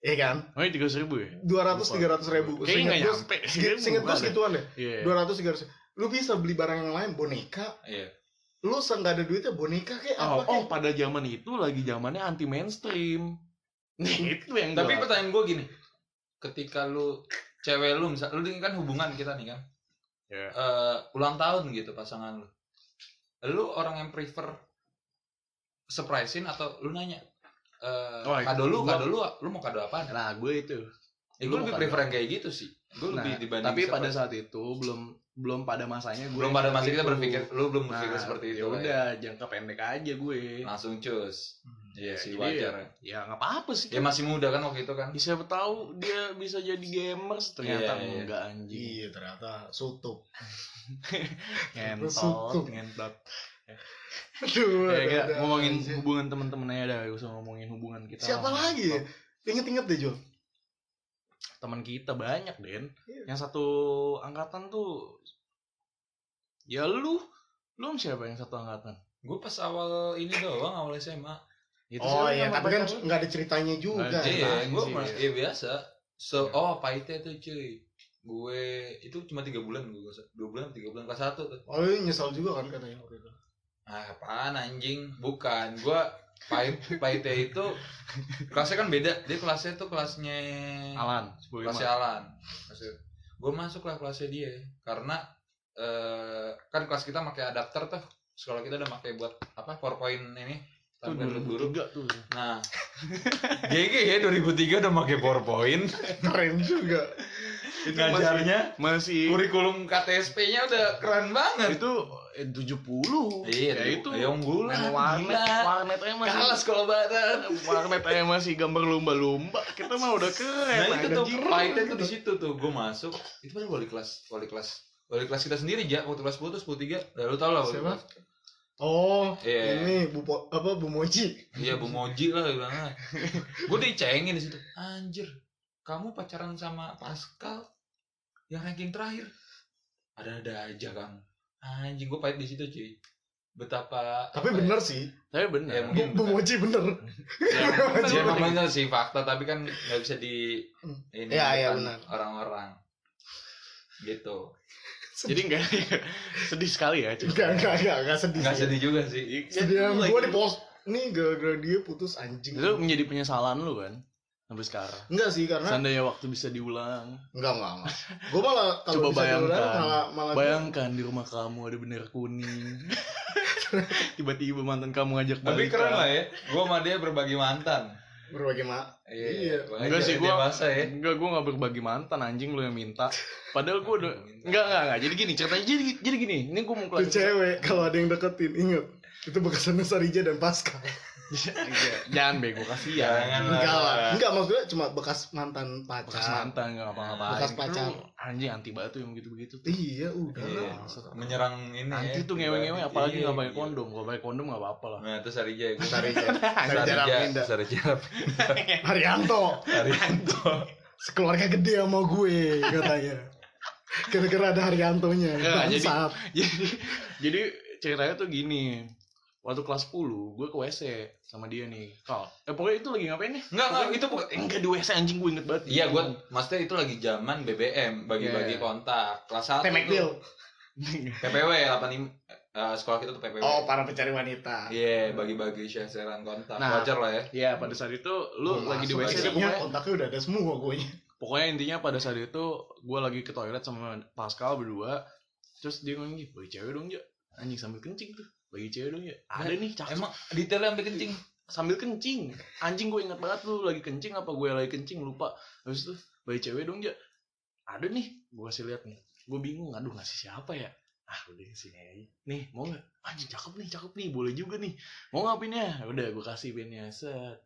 [SPEAKER 3] Iya kan
[SPEAKER 2] oh tiga ribu ya
[SPEAKER 3] dua ratus tiga ratus ribu
[SPEAKER 2] kayaknya nggak nyampe
[SPEAKER 3] singkat singkat gue segituan deh
[SPEAKER 2] Iya.
[SPEAKER 3] dua ratus tiga ratus lu bisa beli barang yang lain boneka
[SPEAKER 1] Iya.
[SPEAKER 3] lu se- nggak ada duitnya boneka kayak apa
[SPEAKER 2] oh, oh
[SPEAKER 3] kayak
[SPEAKER 2] pada zaman itu lagi zamannya anti [laughs] mainstream itu yang
[SPEAKER 1] Tapi
[SPEAKER 2] gua-
[SPEAKER 1] pertanyaan gue gini, ketika lu cewek lu misal lu ini kan hubungan kita nih kan.
[SPEAKER 2] Iya.
[SPEAKER 1] Eh, ulang tahun gitu pasangan lu. Lu orang yang prefer surprisein atau lu nanya eh
[SPEAKER 2] Oh, itu
[SPEAKER 1] kado lu,
[SPEAKER 2] gua-
[SPEAKER 1] kado lu, lu mau kado apaan?
[SPEAKER 2] Nah, gue itu.
[SPEAKER 1] Ya,
[SPEAKER 2] Lu
[SPEAKER 1] gue
[SPEAKER 2] mau
[SPEAKER 1] lebih
[SPEAKER 2] kado
[SPEAKER 1] prefer yang kayak gitu sih. Gue
[SPEAKER 2] Nah,
[SPEAKER 1] lebih dibanding
[SPEAKER 2] tapi
[SPEAKER 1] surprise.
[SPEAKER 2] pada saat itu belum belum pada masanya gue.
[SPEAKER 1] belum pada masa kita
[SPEAKER 2] itu.
[SPEAKER 1] berpikir, lu belum
[SPEAKER 2] Nah,
[SPEAKER 1] berpikir seperti itu.
[SPEAKER 2] ya
[SPEAKER 1] lah
[SPEAKER 2] udah jangka pendek aja gue.
[SPEAKER 1] Langsung cus. Iya
[SPEAKER 2] Ya,
[SPEAKER 1] sih
[SPEAKER 2] jadi
[SPEAKER 1] wajar. ya.
[SPEAKER 2] Ya nggak apa-apa sih.
[SPEAKER 1] Dia masih muda kan waktu itu kan.
[SPEAKER 2] bisa Ya, tahu dia bisa jadi gamers ternyata
[SPEAKER 1] Iya, iya.
[SPEAKER 2] enggak anjing.
[SPEAKER 3] Iya ternyata sutup. [laughs]
[SPEAKER 2] Ngentot,
[SPEAKER 3] Susu.
[SPEAKER 2] Iya, ngentot.
[SPEAKER 3] Aduh.
[SPEAKER 2] Ya, kita
[SPEAKER 3] ada-ada
[SPEAKER 2] ngomongin
[SPEAKER 3] aja.
[SPEAKER 2] hubungan teman-teman aja dah, gak usah ngomongin hubungan kita.
[SPEAKER 3] siapa
[SPEAKER 2] lah.
[SPEAKER 3] lagi ya? Ingat-ingat deh Jo.
[SPEAKER 2] Teman kita banyak, Den.
[SPEAKER 3] Iya.
[SPEAKER 2] Yang satu angkatan tuh Ya lu, lu sama siapa yang satu angkatan?
[SPEAKER 1] Gue pas awal ini doang awal SMA.
[SPEAKER 2] Itu
[SPEAKER 3] oh
[SPEAKER 2] siapa
[SPEAKER 3] iya,
[SPEAKER 2] yang
[SPEAKER 3] tapi
[SPEAKER 2] sama
[SPEAKER 3] kan
[SPEAKER 2] pacar lu?
[SPEAKER 3] nggak ada ceritanya juga.
[SPEAKER 2] Nggak ada
[SPEAKER 3] ya.
[SPEAKER 2] ceritanya.
[SPEAKER 1] Iya, gue
[SPEAKER 2] sih,
[SPEAKER 1] pernah.
[SPEAKER 2] iya.
[SPEAKER 1] Iya biasa. So,
[SPEAKER 2] Iya.
[SPEAKER 1] oh pahitnya tuh cuy. Gue itu cuma tiga bulan gue dua bulan tiga bulan kelas satu tuh.
[SPEAKER 3] Oh iya, nyesal juga kan katanya waktu itu. [laughs]
[SPEAKER 1] Ah, apaan anjing? Bukan, gue
[SPEAKER 2] [laughs]
[SPEAKER 1] pahit pahitnya itu kelasnya kan beda. Dia kelasnya tuh kelasnya
[SPEAKER 2] Alan, sebagai
[SPEAKER 1] kelasnya Alan. Gue masuk lah kelasnya dia karena eh, kan kelas kita pakai adapter tuh. Sekolah kita udah pakai buat apa PowerPoint ini
[SPEAKER 2] Itu
[SPEAKER 1] tampilan buat guru.
[SPEAKER 2] 2003 tuh. [laughs]
[SPEAKER 1] Nah, GG ya 2003 udah pakai PowerPoint.
[SPEAKER 3] Keren juga.
[SPEAKER 2] Itu
[SPEAKER 1] Ngajarnya
[SPEAKER 2] masih, masih
[SPEAKER 1] kurikulum KTSP-nya udah keren banget.
[SPEAKER 2] itu eh, 70. ya itu.
[SPEAKER 1] ya unggulan.
[SPEAKER 2] Main warnet,
[SPEAKER 1] gila.
[SPEAKER 2] warnet aja masih
[SPEAKER 1] Kalah sekolah barat.
[SPEAKER 2] warnet aja masih gambar lumba-lumba kita mah udah keren
[SPEAKER 1] Nah, itu
[SPEAKER 2] ada
[SPEAKER 1] tuh
[SPEAKER 2] jiran
[SPEAKER 1] pahitnya tuh
[SPEAKER 2] gitu.
[SPEAKER 1] di situ tuh gue masuk. Itu kan wali kelas, wali kelas. Wali kelas kita sendiri ja, waktu kelas 10 tuh 13. Lah Nah, lu tau lah wali
[SPEAKER 3] Siapa?
[SPEAKER 1] kelas.
[SPEAKER 3] Oh,
[SPEAKER 1] Iya.
[SPEAKER 3] ini Bu Po- apa Bu Moji.
[SPEAKER 1] Iya, Bu Moji lah bilangnya. gue dicengin di situ. Anjir, kamu pacaran sama Pascal yang ranking terakhir. Ada-ada aja kamu. Anjing, gue pahit di situ cuy. Betapa
[SPEAKER 3] Tapi
[SPEAKER 1] apa ya?
[SPEAKER 3] bener sih.
[SPEAKER 2] tapi benar
[SPEAKER 1] Ya,
[SPEAKER 3] Bu,
[SPEAKER 1] mungkin
[SPEAKER 3] Bu
[SPEAKER 1] bener.
[SPEAKER 3] Moji bener. [laughs]
[SPEAKER 1] Ya
[SPEAKER 2] Bener.
[SPEAKER 1] namanya sih fakta tapi kan nggak bisa di ini
[SPEAKER 3] Iya, iya,
[SPEAKER 1] depan
[SPEAKER 3] benar.
[SPEAKER 1] orang-orang gitu
[SPEAKER 2] [laughs] jadi
[SPEAKER 3] [laughs]
[SPEAKER 2] enggak [laughs] sedih sekali ya cuy
[SPEAKER 3] Enggak, enggak, enggak, enggak sedih.
[SPEAKER 1] nggak sedih juga sih
[SPEAKER 2] Jadi,
[SPEAKER 3] Sedih
[SPEAKER 1] iya.
[SPEAKER 2] like,
[SPEAKER 3] gue di post nih gara-gara dia putus anjing.
[SPEAKER 2] itu menjadi penyesalan lu kan sampai sekarang
[SPEAKER 3] Enggak sih karena
[SPEAKER 2] seandainya waktu bisa diulang
[SPEAKER 3] enggak enggak. enggak. Gue malah kalau
[SPEAKER 2] Coba
[SPEAKER 3] bisa diulang,
[SPEAKER 2] bayangkan.
[SPEAKER 3] malah malah gua-
[SPEAKER 2] bayangkan di rumah kamu ada bendera
[SPEAKER 1] [laughs]
[SPEAKER 2] kuning tiba-tiba mantan kamu ngajak
[SPEAKER 1] tapi
[SPEAKER 2] balikan.
[SPEAKER 1] keren lah ya gua sama dia berbagi mantan
[SPEAKER 3] berbagai ma- Iya.
[SPEAKER 1] makanya
[SPEAKER 2] Enggak sih,
[SPEAKER 1] dia
[SPEAKER 2] gua-
[SPEAKER 1] dewasa ya
[SPEAKER 2] Enggak, gue gak berbagi mantan anjing lu yang minta Padahal gue udah Enggak, enggak, enggak Jadi gini, ceritanya jadi, jadi gini Ini gue mau
[SPEAKER 3] Itu
[SPEAKER 2] kelas
[SPEAKER 3] cewek kalau ada yang deketin inget itu bekasannya Sarija dan Pascal.
[SPEAKER 2] [laughs] Jangan bego, kasihan
[SPEAKER 1] Jangan lah.
[SPEAKER 3] Enggak lah. Enggak maksudnya cuma bekas mantan
[SPEAKER 2] Ah.
[SPEAKER 3] pacar.
[SPEAKER 2] bekas
[SPEAKER 1] Iya.
[SPEAKER 2] mantan nggak apa-apa
[SPEAKER 3] Bekas pacar.
[SPEAKER 2] anjing anti batu yang gitu-gitu tuh
[SPEAKER 3] Iya udah.
[SPEAKER 1] Iya,
[SPEAKER 3] lah.
[SPEAKER 1] menyerang ini
[SPEAKER 2] anti
[SPEAKER 1] ya,
[SPEAKER 2] tuh ngewe-ngewe
[SPEAKER 1] pribadi.
[SPEAKER 2] apalagi nggak
[SPEAKER 1] Iya,
[SPEAKER 2] pakai
[SPEAKER 1] iya.
[SPEAKER 2] kondom nggak pakai kondom nggak apa-apa lah [laughs]
[SPEAKER 1] nah itu Sarija gua
[SPEAKER 3] [laughs] Sarija. Sarija
[SPEAKER 1] Sarija
[SPEAKER 3] Rapinda.
[SPEAKER 1] Sarija
[SPEAKER 3] Haryanto
[SPEAKER 1] Sarjanto
[SPEAKER 3] sekeluarga gede sama gue katanya. Gara-gara ada Haryantonya.
[SPEAKER 2] Enggak, Iya, jadi-
[SPEAKER 3] Bangsat.
[SPEAKER 2] jadi jadi ceritanya tuh gini waktu kelas 10 gue ke WC sama dia nih kal eh pokoknya itu lagi ngapain nih
[SPEAKER 1] enggak enggak
[SPEAKER 2] Pokoknya-
[SPEAKER 1] itu bukan
[SPEAKER 2] Eh, enggak di WC anjing gue inget banget
[SPEAKER 1] Iya, gua maksudnya itu lagi zaman BBM bagi-bagi
[SPEAKER 2] Iya.
[SPEAKER 1] kontak kelas satu.
[SPEAKER 3] Temek
[SPEAKER 1] tuh.
[SPEAKER 3] Bill.
[SPEAKER 1] PPW 85 ya, eh, sekolah kita tuh PPW.
[SPEAKER 3] Oh, para pencari wanita.
[SPEAKER 1] Iya, bagi-bagi share-sharean kontak.
[SPEAKER 2] Nah.
[SPEAKER 1] Wajar lah ya.
[SPEAKER 2] Ya pada saat itu lu
[SPEAKER 3] Gua
[SPEAKER 2] lagi di
[SPEAKER 3] masuk,
[SPEAKER 2] WC deh,
[SPEAKER 3] isinya
[SPEAKER 2] pokoknya,
[SPEAKER 3] kontaknya udah ada semua gue. [laughs]
[SPEAKER 2] pokoknya intinya pada saat itu gue lagi ke toilet sama Pascal berdua terus dia ngomong gitu bagi cewek dong ya anjing sambil kencing tuh bagi cewek dong ya ada nih cakep
[SPEAKER 1] Nah, Emang detailnya sampai kencing.
[SPEAKER 2] sambil kencing anjing gue ingat banget lu lagi kencing apa gue lagi kencing lupa habis itu bayi cewek dong ja ada nih gue kasih lihat nih gue bingung aduh ngasih siapa ya ah udah sini aja nih mau nggak anjing cakep nih cakep nih boleh juga nih mau nggak pinnya udah gue kasih pinnya set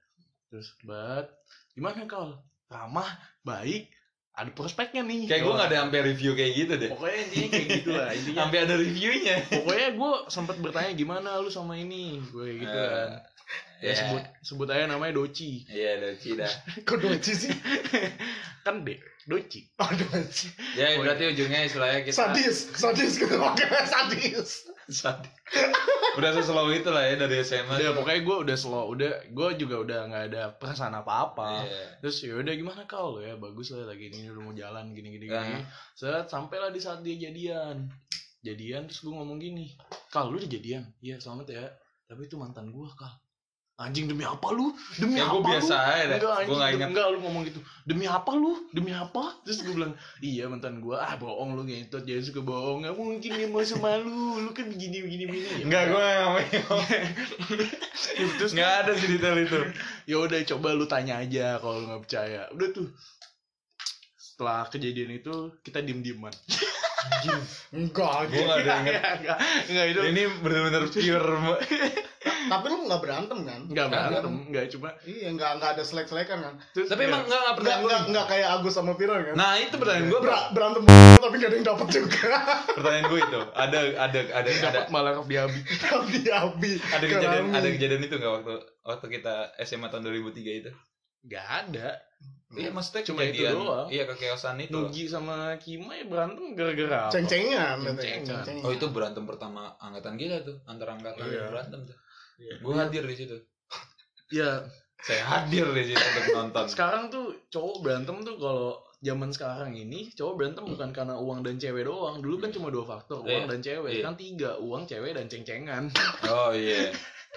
[SPEAKER 2] terus bat gimana kau ramah baik ada prospeknya nih
[SPEAKER 1] Kayak gue gak ada sampai review kayak gitu deh.
[SPEAKER 2] pokoknya intinya kayak gitu lah intinya
[SPEAKER 1] Sampai ada reviewnya.
[SPEAKER 2] pokoknya gue sempet bertanya gimana lu sama ini gue kayak gitu
[SPEAKER 1] Eh,
[SPEAKER 2] kan ya
[SPEAKER 1] iya.
[SPEAKER 2] sebut sebut aja namanya Doci
[SPEAKER 1] Iya, doci [laughs] dah.
[SPEAKER 3] Kok doci sih?
[SPEAKER 2] kan dek doci
[SPEAKER 3] Oh, doci.
[SPEAKER 1] Ya, berarti ujungnya istilahnya
[SPEAKER 2] Iya,
[SPEAKER 1] kita
[SPEAKER 3] Sadis, sadis gitu. Oke, sadis.
[SPEAKER 2] [laughs]
[SPEAKER 1] Sadis. [laughs] Udah seslow itu lah ya dari SMA.
[SPEAKER 2] udah pokoknya gue udah slow udah gue juga udah nggak ada perasaan apa apa
[SPEAKER 1] Iya.
[SPEAKER 2] terus ya udah gimana kau ya bagus lah lagi ini udah mau jalan gini gini
[SPEAKER 1] Ah.
[SPEAKER 2] gini set sampailah di saat dia jadian jadian terus gue ngomong gini kal lu udah jadian iya selamat ya tapi itu mantan gue kal anjing demi apa lu demi
[SPEAKER 1] Ya gue
[SPEAKER 2] apa lu
[SPEAKER 1] biasa aja deh.
[SPEAKER 2] enggak
[SPEAKER 1] Gue gak
[SPEAKER 2] anjing dem-
[SPEAKER 1] ingat.
[SPEAKER 2] enggak lu ngomong gitu demi apa lu demi apa terus gue bilang iya mantan gue ah bohong lu ngentot jadi suka bohong nggak mungkin dia mau sama lu lu kan begini begini begini Ya
[SPEAKER 1] Enggak gue [laughs]
[SPEAKER 2] terus nggak ada sih detail itu ya udah coba lu tanya aja kalau lu nggak percaya udah tuh setelah kejadian itu kita diem dieman
[SPEAKER 3] Enggak
[SPEAKER 1] Gue
[SPEAKER 3] anjing.
[SPEAKER 1] gak ada inget.
[SPEAKER 2] [laughs] nggak nggak itu
[SPEAKER 1] Ini bener-bener pure. Mbak.
[SPEAKER 3] Tapi lu nggak berantem kan?
[SPEAKER 2] nggak
[SPEAKER 1] Nggak,
[SPEAKER 2] berantem nggak cuma
[SPEAKER 3] Iya, nggak nggak ada selek-selekan kan?
[SPEAKER 2] terus
[SPEAKER 1] Tapi
[SPEAKER 2] ya,
[SPEAKER 1] emang enggak gak pernah.
[SPEAKER 3] Enggak enggak enggak kayak Agus sama Piro kan?
[SPEAKER 1] Nah itu pertanyaan gue bro.
[SPEAKER 3] Ber- berantem tapi gak ada yang dapat juga. [laughs]
[SPEAKER 1] Pertanyaan gue itu ada ada ada ada
[SPEAKER 2] dapat malah ke diabi
[SPEAKER 3] Abi Abi.
[SPEAKER 1] ada kejadian ada kejadian itu nggak waktu waktu kita SMA tahun 2003 itu?
[SPEAKER 2] nggak ada
[SPEAKER 1] Iya maksudnya
[SPEAKER 2] Cuma itu
[SPEAKER 1] kejadian-
[SPEAKER 2] doang.
[SPEAKER 1] Iya kekeosan itu.
[SPEAKER 2] Nugi sama Kima ya berantem gara-gara apa?
[SPEAKER 3] Ceng-cengan,
[SPEAKER 2] Ceng-cengan.
[SPEAKER 3] ceng-cengan.
[SPEAKER 1] Oh itu berantem pertama angkatan gila tuh antara angkatan
[SPEAKER 2] Iya.
[SPEAKER 1] berantem tuh.
[SPEAKER 2] Iya.
[SPEAKER 1] Gue hadir di situ.
[SPEAKER 2] Ya,
[SPEAKER 1] Saya hadir di situ untuk nonton.
[SPEAKER 2] sekarang tuh cowok berantem tuh kalau zaman sekarang ini cowok berantem bukan karena uang dan cewek doang. Dulu kan cuma dua faktor,
[SPEAKER 1] Iya.
[SPEAKER 2] uang dan cewek.
[SPEAKER 1] Iya.
[SPEAKER 2] Sekarang tiga, uang, cewek dan ceng-cengan. [laughs]
[SPEAKER 1] Oh iya.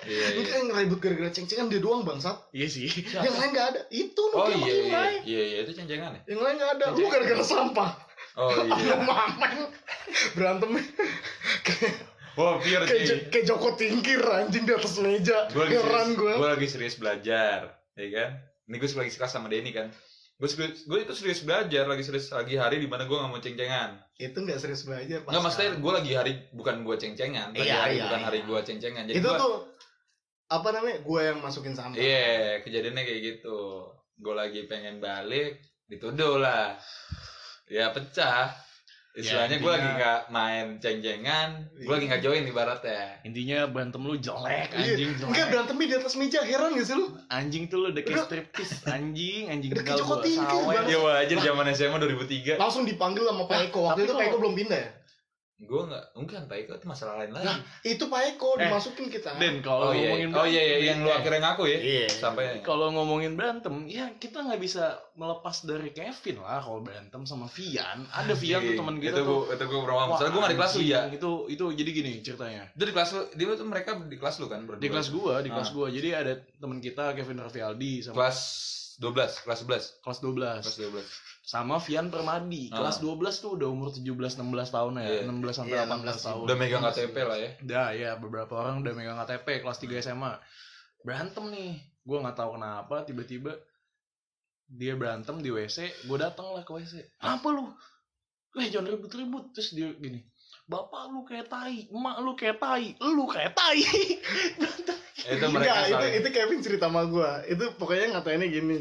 [SPEAKER 1] Iya
[SPEAKER 3] Lu
[SPEAKER 1] iya.
[SPEAKER 3] kan ngerebut gara-gara ceng-cengan dia doang bangsat.
[SPEAKER 2] Iya sih.
[SPEAKER 3] Yang lain gak ada. Itu lu
[SPEAKER 1] Ya. Oh
[SPEAKER 3] kayak
[SPEAKER 1] iya
[SPEAKER 3] makin
[SPEAKER 1] iya.
[SPEAKER 3] lain.
[SPEAKER 1] Iya iya itu cencengan ya.
[SPEAKER 3] Yang lain gak ada. Lu
[SPEAKER 1] Ceng-cengan.
[SPEAKER 3] gara-gara sampah.
[SPEAKER 1] Oh
[SPEAKER 3] Ada
[SPEAKER 2] [laughs]
[SPEAKER 1] iya.
[SPEAKER 3] mamen. Berantem kayak
[SPEAKER 1] Wah pure
[SPEAKER 3] kayak
[SPEAKER 1] sih.
[SPEAKER 3] Jo- kayak Joko Tingkir anjing di atas meja.
[SPEAKER 1] Gue Iya. lagi serius.
[SPEAKER 3] Heran gue.
[SPEAKER 1] Gue lagi serius belajar, ya kan? Ini gue lagi kelas sama Denny kan. Gue serius, gue itu serius belajar lagi serius lagi hari di mana gue nggak mau ceng-cengan.
[SPEAKER 3] Itu gak serius belajar.
[SPEAKER 1] Nggak
[SPEAKER 3] Pascal.
[SPEAKER 1] maksudnya gue lagi hari bukan gue ceng-cengan, lagi
[SPEAKER 3] Iya,
[SPEAKER 1] hari
[SPEAKER 3] iya,
[SPEAKER 1] bukan
[SPEAKER 3] iya.
[SPEAKER 1] hari gue ceng-cengan. Jadi
[SPEAKER 3] itu
[SPEAKER 1] gua-
[SPEAKER 3] tuh apa namanya gue yang masukin sampah
[SPEAKER 1] Iya, kejadiannya kayak gitu. Gue lagi pengen balik, dituduh lah. Ya pecah. Istilahnya gue
[SPEAKER 2] intinya-
[SPEAKER 1] lagi nggak main ceng-cengan, gue lagi nggak join ibaratnya.
[SPEAKER 2] Intinya berantem lu jelek,
[SPEAKER 3] Iya.
[SPEAKER 2] anjing jelek.
[SPEAKER 3] enggak berantemnya di atas meja heran gak sih lu
[SPEAKER 2] Anjing tuh lu udah kayak
[SPEAKER 3] Udah.
[SPEAKER 2] striptis, anjing, anjing
[SPEAKER 3] Udah
[SPEAKER 2] tinggal
[SPEAKER 3] kayak Joko
[SPEAKER 2] gua
[SPEAKER 3] Tingkir,
[SPEAKER 2] sawet.
[SPEAKER 3] Bang.
[SPEAKER 1] Ya wajar zaman SMA 2003.
[SPEAKER 3] langsung dipanggil sama Pak Eko
[SPEAKER 2] tapi
[SPEAKER 3] waktu itu
[SPEAKER 2] kalau-
[SPEAKER 3] Pak Eko belum pindah ya
[SPEAKER 1] Gue nggak, mungkin Pak Iko itu masalah lain lagi.
[SPEAKER 3] itu Pak Eko
[SPEAKER 2] Eh,
[SPEAKER 3] dimasukin kita
[SPEAKER 2] Den,
[SPEAKER 1] oh
[SPEAKER 2] kalau
[SPEAKER 1] iya,
[SPEAKER 2] ngomongin
[SPEAKER 1] oh iya, iya,
[SPEAKER 2] berantem,
[SPEAKER 1] yang lu
[SPEAKER 2] eh,
[SPEAKER 1] akhirnya ngaku ya.
[SPEAKER 3] iya
[SPEAKER 1] Sampai
[SPEAKER 2] kalau ngomongin berantem, ya kita nggak bisa melepas dari Kevin lah kalau berantem sama Vian. Ada Vian tuh teman kita
[SPEAKER 1] itu
[SPEAKER 2] gitu tuh.
[SPEAKER 1] gua, itu gue pernah Soalnya gue nggak di kelas lu ya.
[SPEAKER 2] anjing, Itu itu jadi gini ceritanya.
[SPEAKER 1] Itu di kelas lu, dia tuh mereka di kelas lu kan berdua.
[SPEAKER 2] Di kelas gua, di kelas gua. Jadi ada teman kita Kevin Rafialdi sama
[SPEAKER 1] kelas 12, kelas 11,
[SPEAKER 2] kelas
[SPEAKER 1] kelas
[SPEAKER 2] 12 sama Vian Permadi.
[SPEAKER 1] Ah.
[SPEAKER 2] Kelas 12 tuh udah umur 17 16 tahun ya,
[SPEAKER 1] Iya.
[SPEAKER 2] 16 sampai
[SPEAKER 3] Iya,
[SPEAKER 2] 18
[SPEAKER 3] 16
[SPEAKER 2] tahun.
[SPEAKER 1] 12. Udah megang KTP lah
[SPEAKER 2] [laughs]
[SPEAKER 1] ya.
[SPEAKER 2] Udah ya, beberapa orang udah megang KTP kelas 3 SMA. Berantem nih. Gua nggak tahu kenapa tiba-tiba dia berantem di WC, gua datang lah ke WC. Apa lu? Eh jangan ribut-ribut Terus dia gini Bapak lu kayak tai Emak lu kayak tai Lu kayak tai [laughs] Berantem.
[SPEAKER 1] Itu mereka
[SPEAKER 3] Enggak, Iya, itu,
[SPEAKER 1] saling.
[SPEAKER 3] itu Kevin cerita sama gue itu pokoknya ngatainnya gini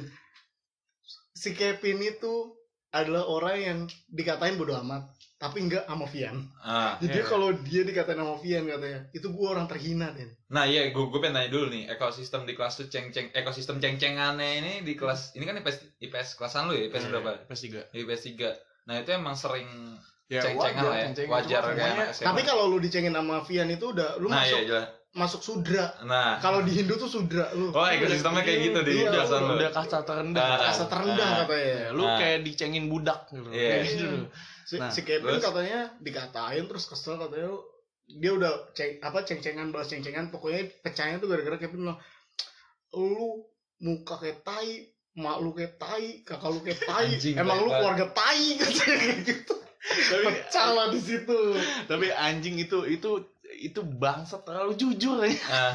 [SPEAKER 3] si Kevin itu adalah orang yang dikatain bodoh amat tapi enggak sama Vian
[SPEAKER 1] Ah.
[SPEAKER 3] jadi
[SPEAKER 2] Iya.
[SPEAKER 3] kalau dia dikatain sama Vian katanya itu gue orang terhina Den
[SPEAKER 1] Nah iya, gue gue pengen tanya dulu nih ekosistem di kelas tuh ceng-ceng ekosistem ceng-cengannya ini di kelas ini kan IPS IPS kelasan lu ya
[SPEAKER 2] Iya.
[SPEAKER 1] IPS berapa?
[SPEAKER 2] Pas tiga
[SPEAKER 1] IPS 3 Nah itu emang sering
[SPEAKER 2] ya,
[SPEAKER 1] ceng-cengan lah ya,
[SPEAKER 2] ceng-cengan.
[SPEAKER 1] wajar
[SPEAKER 2] Cuma
[SPEAKER 1] kayak
[SPEAKER 2] semuanya-
[SPEAKER 1] anak SMA.
[SPEAKER 3] tapi kalau lu dicengin sama Vian itu udah lu
[SPEAKER 1] nah
[SPEAKER 3] masuk
[SPEAKER 1] iya jelas.
[SPEAKER 3] masuk sudra
[SPEAKER 1] Nah,
[SPEAKER 3] kalau di Hindu tuh sudra lu
[SPEAKER 1] oh ekosistemnya kayak gitu di
[SPEAKER 3] Iya,
[SPEAKER 1] kelasan lu.
[SPEAKER 2] udah kasta terendah
[SPEAKER 1] Ah.
[SPEAKER 3] kasta terendah
[SPEAKER 1] Ah.
[SPEAKER 3] katanya
[SPEAKER 2] Ya, lu
[SPEAKER 1] Nah.
[SPEAKER 2] kayak dicengin budak gitu
[SPEAKER 1] Iya.
[SPEAKER 2] Kayak gitu.
[SPEAKER 3] si,
[SPEAKER 2] Nah,
[SPEAKER 3] si Kevin
[SPEAKER 1] terus?
[SPEAKER 3] katanya dikatain terus kesel katanya lu- dia udah ceng apa ceng-cengan balas ceng-cengan pokoknya pecahnya tuh gara-gara Kevin bilang lu muka kayak tai mak lu kayak tai kakak lu kayak tai
[SPEAKER 1] Anjing,
[SPEAKER 3] emang lu
[SPEAKER 1] baik
[SPEAKER 3] keluarga tai [laughs] katanya kayak gitu
[SPEAKER 2] tapi,
[SPEAKER 3] pecah lah di situ
[SPEAKER 2] tapi anjing itu itu itu bangsa terlalu jujur ya
[SPEAKER 1] Nah,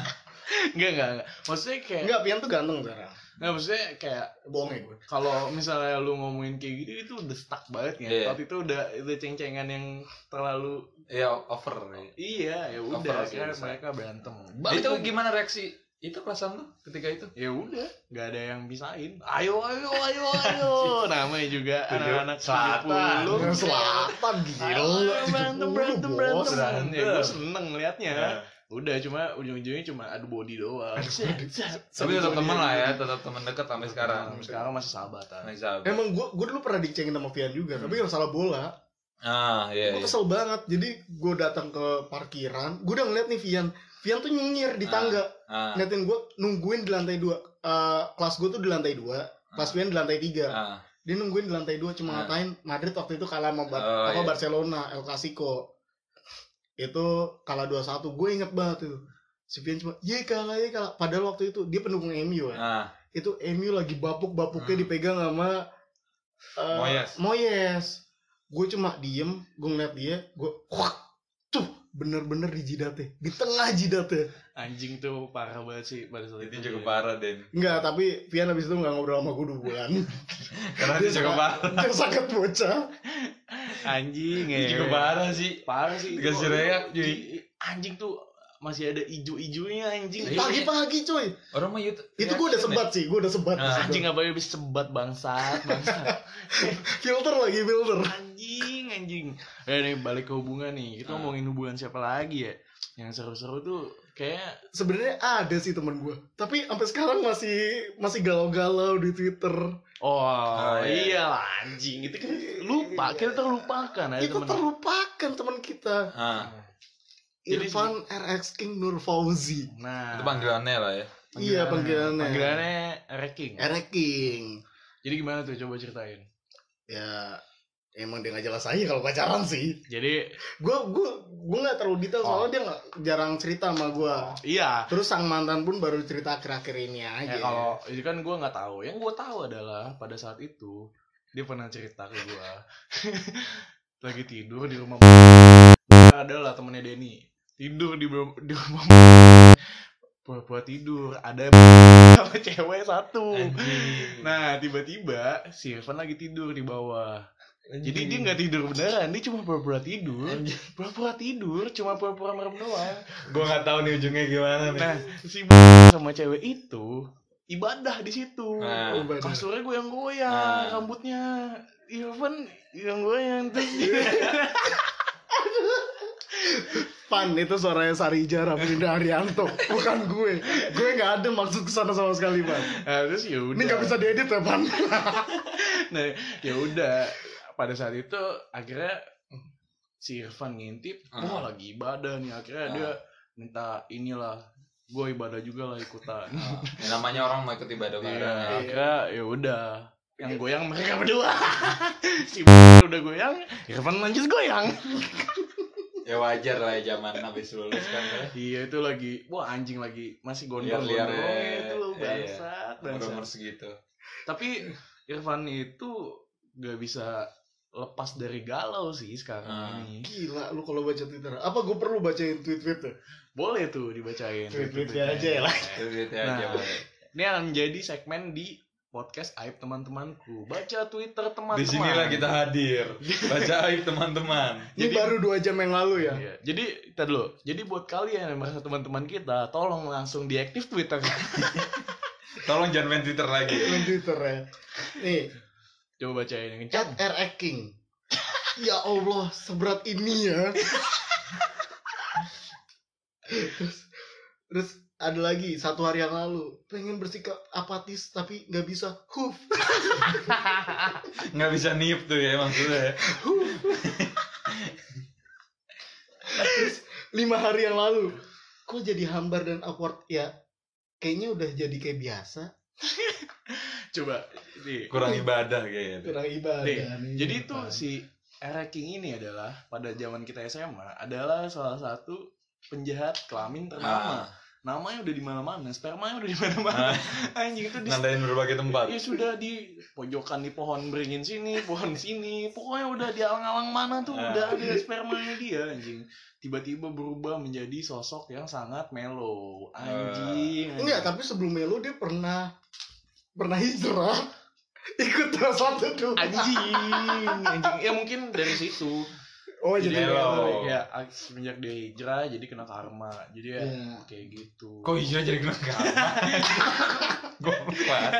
[SPEAKER 2] enggak enggak enggak. maksudnya kayak
[SPEAKER 3] enggak Pian tuh ganteng sekarang
[SPEAKER 2] enggak, maksudnya kayak
[SPEAKER 3] bohong ya gue
[SPEAKER 2] kalau misalnya lu ngomongin kayak gitu itu udah stuck banget ya
[SPEAKER 1] Iya.
[SPEAKER 2] waktu itu udah itu ceng-cengan yang terlalu
[SPEAKER 1] ya over. ya.
[SPEAKER 2] iya ya udah
[SPEAKER 1] Overall sih
[SPEAKER 2] akhirnya
[SPEAKER 1] bisa.
[SPEAKER 2] mereka berantem
[SPEAKER 1] Itu gimana reaksi itu kelasan lu ketika itu?
[SPEAKER 2] ya udah nggak ada yang bisain ayo ayo ayo
[SPEAKER 1] [laughs]
[SPEAKER 2] ayo namanya juga
[SPEAKER 1] Tujuh-
[SPEAKER 2] anak-anak
[SPEAKER 1] selatan.
[SPEAKER 3] Yang
[SPEAKER 2] 70
[SPEAKER 3] selatan gila
[SPEAKER 2] Ayo, Nah, berantem berantem
[SPEAKER 3] Bos.
[SPEAKER 2] berantem
[SPEAKER 1] berantem.
[SPEAKER 2] ya gue seneng liatnya
[SPEAKER 1] Nah,
[SPEAKER 2] udah cuma ujung-ujungnya cuma adu body doang
[SPEAKER 1] Tapi tetap teman lah ya, tetap teman dekat sampai sekarang.
[SPEAKER 2] Sampai sekarang masih sahabatan
[SPEAKER 1] Nah, sahabat.
[SPEAKER 3] Emang gue gue dulu pernah dicengin sama Vian juga, tapi yang salah bola.
[SPEAKER 1] Ah, iya.
[SPEAKER 3] Gue
[SPEAKER 1] iya.
[SPEAKER 3] kesel banget. Jadi gue datang ke parkiran, gue udah ngeliat nih Vian. Vian tuh nyinyir di tangga,
[SPEAKER 1] Ah,
[SPEAKER 3] ngeliatin gue nungguin di lantai dua. Eh, kelas gue tuh di lantai dua, kelas Vian di lantai tiga.
[SPEAKER 1] ah.
[SPEAKER 3] Dia nungguin di lantai dua cuma
[SPEAKER 1] Ah.
[SPEAKER 3] ngatain Madrid waktu itu kalah sama Bar-
[SPEAKER 1] Oh,
[SPEAKER 3] apa,
[SPEAKER 1] iya.
[SPEAKER 3] Barcelona El Clasico. Itu kalah 2-1. Gue inget banget tuh. si Vian cuma ye kalah ye kalah padahal waktu itu dia pendukung MU ya
[SPEAKER 1] Ah,
[SPEAKER 3] itu MU lagi bapuk-bapuknya
[SPEAKER 1] Hmm.
[SPEAKER 3] dipegang sama eh,
[SPEAKER 1] Moyes.
[SPEAKER 3] Moyes gue cuma diem gue ngeliat dia gue wah tuh bener-bener di jidatnya di tengah jidatnya
[SPEAKER 2] Anjing tuh parah banget sih pada saat itu. iya.
[SPEAKER 1] itu juga parah Den.
[SPEAKER 3] enggak tapi Vian abis itu nggak ngobrol sama gue dua
[SPEAKER 1] [laughs]
[SPEAKER 3] bulan
[SPEAKER 1] Karena itu juga
[SPEAKER 3] sangat-
[SPEAKER 1] [laughs] parah.
[SPEAKER 3] dia sangat bocah
[SPEAKER 2] Anjing
[SPEAKER 1] Itu
[SPEAKER 2] ya.
[SPEAKER 1] juga parah sih.
[SPEAKER 2] Parah sih.
[SPEAKER 1] Dikasih
[SPEAKER 2] Itu-
[SPEAKER 1] reak, cuy.
[SPEAKER 2] Di- Anjing tuh masih ada ijo-ijonya
[SPEAKER 1] Iya.
[SPEAKER 2] anjing.
[SPEAKER 3] pagi-pagi coy
[SPEAKER 1] Orang mah YouTube.
[SPEAKER 3] itu gue udah sebat sih gue udah sebat
[SPEAKER 1] Ah.
[SPEAKER 2] Anjing apa ya bisa sebat bangsat,
[SPEAKER 1] [laughs]
[SPEAKER 2] bangsat.
[SPEAKER 3] filter lagi filter
[SPEAKER 2] anjing, anjing. Eh nih balik ke hubungan nih. Kita
[SPEAKER 1] Ah.
[SPEAKER 2] ngomongin hubungan siapa lagi ya? Yang seru-seru tuh kayak
[SPEAKER 3] sebenarnya ada sih teman gue tapi sampai sekarang masih masih galau-galau di Twitter
[SPEAKER 2] Oh,
[SPEAKER 1] Oh, iya.
[SPEAKER 2] iyalah anjing itu kan lupa kita terlupakan ada
[SPEAKER 3] itu
[SPEAKER 2] teman
[SPEAKER 3] terlupakan teman kita
[SPEAKER 1] Ah,
[SPEAKER 2] Jadi-
[SPEAKER 3] Irfan RX King Nur Fauzi
[SPEAKER 2] nah
[SPEAKER 1] itu panggilannya lah ya.
[SPEAKER 3] iya panggilannya
[SPEAKER 2] panggilannya Reking
[SPEAKER 1] Eh.
[SPEAKER 3] RX King
[SPEAKER 2] jadi gimana tuh coba ceritain
[SPEAKER 3] ya emang dia nggak jelas aja kalau pacaran sih
[SPEAKER 2] jadi
[SPEAKER 3] gue gue gue nggak terlalu detail
[SPEAKER 2] Oh.
[SPEAKER 3] soalnya dia nggak jarang cerita sama gue
[SPEAKER 2] iya
[SPEAKER 3] terus sang mantan pun baru cerita akhir-akhir ini aja
[SPEAKER 1] Iya.
[SPEAKER 2] ya, kalau itu kan gue nggak tahu yang gue tahu adalah pada saat itu dia pernah cerita ke gue [laughs] lagi tidur di rumah adalah temennya Denny tidur di, di rumah pura-pura tidur ada [laughs] sama cewek satu
[SPEAKER 1] Anjing.
[SPEAKER 2] Nah, tiba-tiba si Irfan lagi tidur di bawah. Jadi dia nggak tidur beneran, dia cuma pura-pura tidur.
[SPEAKER 1] Anjing.
[SPEAKER 2] Pura-pura tidur, cuma pura-pura merem doang.
[SPEAKER 1] Gue nggak tahu nih ujungnya gimana nih.
[SPEAKER 2] Nah, si b- sama cewek itu ibadah di situ.
[SPEAKER 1] Nah.
[SPEAKER 3] Oh, bener.
[SPEAKER 2] Kasurnya gue yang goyang,
[SPEAKER 1] Nah.
[SPEAKER 2] rambutnya Irfan yang goyang terus dia
[SPEAKER 3] Pan itu suaranya Sarija Rafrinda
[SPEAKER 2] [laughs]
[SPEAKER 3] Arianto Bukan gue Gue gak ada maksud kesana sama sekali Pan
[SPEAKER 2] [laughs] nah, terus ya udah.
[SPEAKER 3] Ini gak bisa diedit ya Pan [laughs]
[SPEAKER 2] Nah, ya udah pada saat itu akhirnya si Irfan ngintip, wah
[SPEAKER 1] Ah.
[SPEAKER 2] lagi ibadah nih. Akhirnya
[SPEAKER 1] Ah.
[SPEAKER 2] dia minta inilah, gue ibadah juga lah ikutan.
[SPEAKER 1] Ah, ya namanya orang mau ikut ibadah bareng.
[SPEAKER 2] Iya,
[SPEAKER 1] ya.
[SPEAKER 2] akhirnya ya udah yang goyang mereka berdua. [laughs] si b- udah goyang, Irfan lanjut goyang.
[SPEAKER 1] Ya wajar lah ya zaman habis lulus kan. ya.
[SPEAKER 2] Iya itu lagi, wah anjing lagi masih
[SPEAKER 1] Liar-liar
[SPEAKER 2] gondol-gondol
[SPEAKER 1] ya.
[SPEAKER 2] itu loh,
[SPEAKER 1] Iya.
[SPEAKER 2] bangsat, bangsat.
[SPEAKER 1] Umur-umur segitu.
[SPEAKER 2] Tapi Irfan itu gak bisa lepas dari galau sih sekarang
[SPEAKER 1] Ah.
[SPEAKER 2] ini.
[SPEAKER 3] Gila lu kalau baca Twitter Apa gue perlu bacain ya? tweet-tweetnya
[SPEAKER 2] Boleh tuh dibacain.
[SPEAKER 3] Tweet-tweetnya aja ya lah.
[SPEAKER 1] Itu gitu aja.
[SPEAKER 2] Nah.
[SPEAKER 1] Bang.
[SPEAKER 2] Ini akan menjadi segmen di podcast Aib teman-temanku. Baca Twitter teman-teman.
[SPEAKER 1] Di sinilah kita hadir. Baca aib teman-teman.
[SPEAKER 3] Ini
[SPEAKER 2] Jadi-
[SPEAKER 3] baru 2 jam yang lalu ya
[SPEAKER 2] Iya. Jadi kita dulu. Jadi buat kalian yang merasa teman-teman kita, tolong langsung diaktif Twitter. [laughs]
[SPEAKER 1] Tolong jangan main Twitter lagi.
[SPEAKER 3] Main Twitter ya Nih
[SPEAKER 2] Coba bacain yang
[SPEAKER 3] Chat
[SPEAKER 2] kencang.
[SPEAKER 3] RX King Ya Allah Seberat ini ya Terus Terus ada lagi satu hari yang lalu pengen bersikap apatis tapi nggak bisa huf
[SPEAKER 1] Nggak bisa niup tuh ya maksudnya. ya.
[SPEAKER 3] lima hari yang lalu kok jadi hambar dan awkward ya kayaknya udah jadi kayak biasa
[SPEAKER 2] Coba. Nih.
[SPEAKER 1] Kurang ibadah kayaknya.
[SPEAKER 3] kurang ibadah
[SPEAKER 2] Nih, Jadi itu si Era King ini adalah pada zaman kita SMA adalah salah satu penjahat kelamin
[SPEAKER 1] Ah,
[SPEAKER 2] ternama. Namanya udah di mana-mana, spermanya udah di mana-mana. [laughs] Anjing itu di
[SPEAKER 1] nandain berbagai tempat.
[SPEAKER 2] ya sudah di pojokan di pohon beringin sini pohon sini pokoknya udah di alang-alang mana tuh
[SPEAKER 1] Ah.
[SPEAKER 2] udah ada spermanya dia anjing tiba-tiba berubah menjadi sosok yang sangat mellow anjing, anjing.
[SPEAKER 3] Ah. enggak tapi sebelumnya lu dia pernah pernah hijrah ikut salah satu dulu
[SPEAKER 2] anjing anjing ya mungkin dari situ
[SPEAKER 3] oh
[SPEAKER 1] Jadi
[SPEAKER 3] jadi
[SPEAKER 1] lo.
[SPEAKER 3] mellow.
[SPEAKER 2] ya semenjak dia hijrah jadi kena karma jadi ya
[SPEAKER 1] Iya.
[SPEAKER 3] Ya.
[SPEAKER 2] kayak gitu
[SPEAKER 1] Kok hijrah jadi kena karma? [laughs] Goblok banget.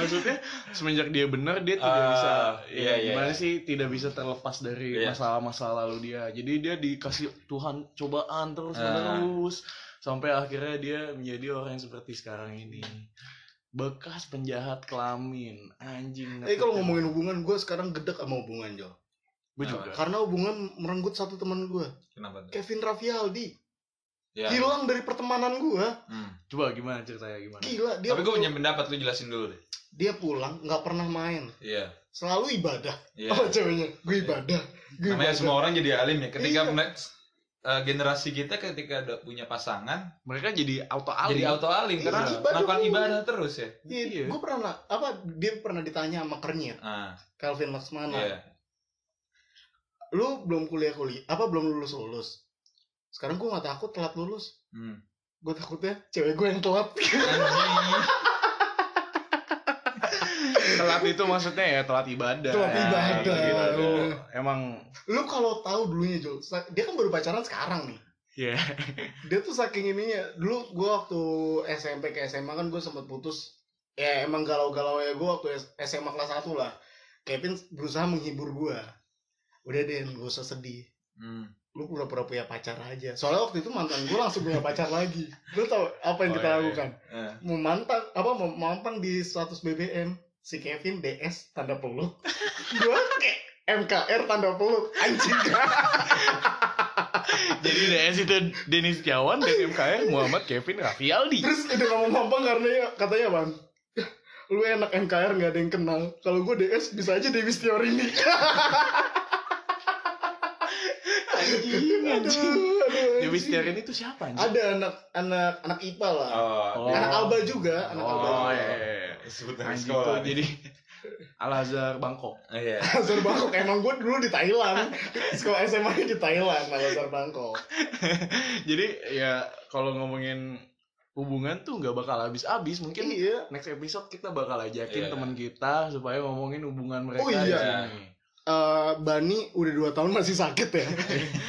[SPEAKER 2] maksudnya semenjak dia benar dia tidak
[SPEAKER 1] Ah,
[SPEAKER 2] bisa
[SPEAKER 1] iya,
[SPEAKER 2] ya,
[SPEAKER 1] iya,
[SPEAKER 2] gimana
[SPEAKER 1] iya.
[SPEAKER 2] sih tidak bisa terlepas dari
[SPEAKER 1] Iya.
[SPEAKER 2] masalah-masalah lalu dia jadi dia dikasih Tuhan cobaan terus
[SPEAKER 1] Ah.
[SPEAKER 2] menerus sampai akhirnya dia menjadi orang yang seperti sekarang ini bekas penjahat kelamin anjing
[SPEAKER 3] eh kalau ngomongin hubungan gue sekarang gedek sama hubungan Jo
[SPEAKER 1] Ah.
[SPEAKER 2] gue juga
[SPEAKER 3] karena hubungan merenggut satu teman gue
[SPEAKER 1] Kenapa tuh?
[SPEAKER 3] Kevin Raffialdi
[SPEAKER 1] Ya.
[SPEAKER 3] hilang dari pertemanan gue
[SPEAKER 1] Hmm.
[SPEAKER 2] coba gimana ceritanya gimana
[SPEAKER 3] gila dia
[SPEAKER 1] Tapi gue punya pendapat lu jelasin dulu deh.
[SPEAKER 3] dia pulang nggak pernah main
[SPEAKER 1] Iya.
[SPEAKER 3] selalu ibadah
[SPEAKER 1] Iya.
[SPEAKER 3] oh ceweknya gue ibadah gue
[SPEAKER 1] Ya. Namanya
[SPEAKER 3] ibadah.
[SPEAKER 1] semua orang jadi alim ya. Ketika
[SPEAKER 3] Iya.
[SPEAKER 1] melihat eh, generasi kita ketika udah punya pasangan
[SPEAKER 2] mereka jadi auto alih
[SPEAKER 1] jadi auto alim karena
[SPEAKER 2] Iya.
[SPEAKER 1] melakukan
[SPEAKER 3] Ibadah.
[SPEAKER 1] ibadah terus ya.
[SPEAKER 3] Iya, gue pernah apa dia pernah ditanya sama kernyit
[SPEAKER 1] Ah,
[SPEAKER 3] Calvin Laksmana,
[SPEAKER 1] iya.
[SPEAKER 3] lu belum kuliah kuliah apa belum lulus lulus? Sekarang gue nggak takut telat lulus,
[SPEAKER 1] Hmm.
[SPEAKER 3] gue takutnya cewek gue yang telat. [laughs]
[SPEAKER 1] Anjing.
[SPEAKER 2] telat itu maksudnya ya telat ibadah
[SPEAKER 3] Telat
[SPEAKER 2] Ya,
[SPEAKER 3] ibadah. Oh.
[SPEAKER 2] gitu-gitu. emang
[SPEAKER 3] lu kalau tahu dulunya Jol, sa- dia kan baru pacaran sekarang nih.
[SPEAKER 2] ya
[SPEAKER 3] Dia tuh saking ininya, dulu gue waktu SMP ke SMA kan gue sempet putus. Ya emang galau-galau ya gue waktu S- SMA kelas 1 lah. Kevin berusaha menghibur gue. Udah deh, gak usah sedih.
[SPEAKER 1] Hmm.
[SPEAKER 3] lu pura-pura punya pacar aja soalnya waktu itu mantan gue langsung punya pacar lagi lu tau apa yang
[SPEAKER 2] Oh, iya,
[SPEAKER 3] kita
[SPEAKER 2] iya.
[SPEAKER 3] lakukan
[SPEAKER 1] Eh.
[SPEAKER 3] mau mantan apa mau mampang di status BBM si Kevin DS tanda peluk [laughs] gue kayak MKR tanda peluk anjing
[SPEAKER 2] [laughs] jadi DS itu Denis Tiawan dan MKR Muhammad Kevin Raffi Aldi
[SPEAKER 3] terus udah gak mau mampang karena ya, katanya bang [laughs] lu enak MKR nggak ada yang kenal kalau gue DS bisa aja Dewi Setiorini
[SPEAKER 2] anjing anjing
[SPEAKER 3] [laughs] Aduh, aduh,
[SPEAKER 2] Dewi
[SPEAKER 3] anjing.
[SPEAKER 2] Setiawan itu siapa anjing
[SPEAKER 3] ada anak anak anak IPA lah
[SPEAKER 1] Oh,
[SPEAKER 3] anak Alba juga anak Alba
[SPEAKER 2] oh
[SPEAKER 1] iya.
[SPEAKER 2] ya,
[SPEAKER 3] [laughs]
[SPEAKER 2] ya, ya.
[SPEAKER 1] sebut nama
[SPEAKER 2] anjing
[SPEAKER 1] sekolah.
[SPEAKER 2] tuh jadi Al Azhar Bangkok
[SPEAKER 1] Oh, iya.
[SPEAKER 3] Azhar Bangkok Eh, emang gue dulu di
[SPEAKER 1] [laughs]
[SPEAKER 3] Thailand sekolah SMA nya di Thailand kalau Azhar Bangkok
[SPEAKER 2] jadi ya kalau ngomongin hubungan tuh nggak bakal habis-habis mungkin
[SPEAKER 3] iya
[SPEAKER 2] next episode kita bakal ajakin
[SPEAKER 1] Iya.
[SPEAKER 2] teman kita supaya ngomongin hubungan mereka
[SPEAKER 3] Oh, iya.
[SPEAKER 2] di sini.
[SPEAKER 3] Eh, Bani udah dua tahun masih sakit
[SPEAKER 1] [laughs]
[SPEAKER 3] ya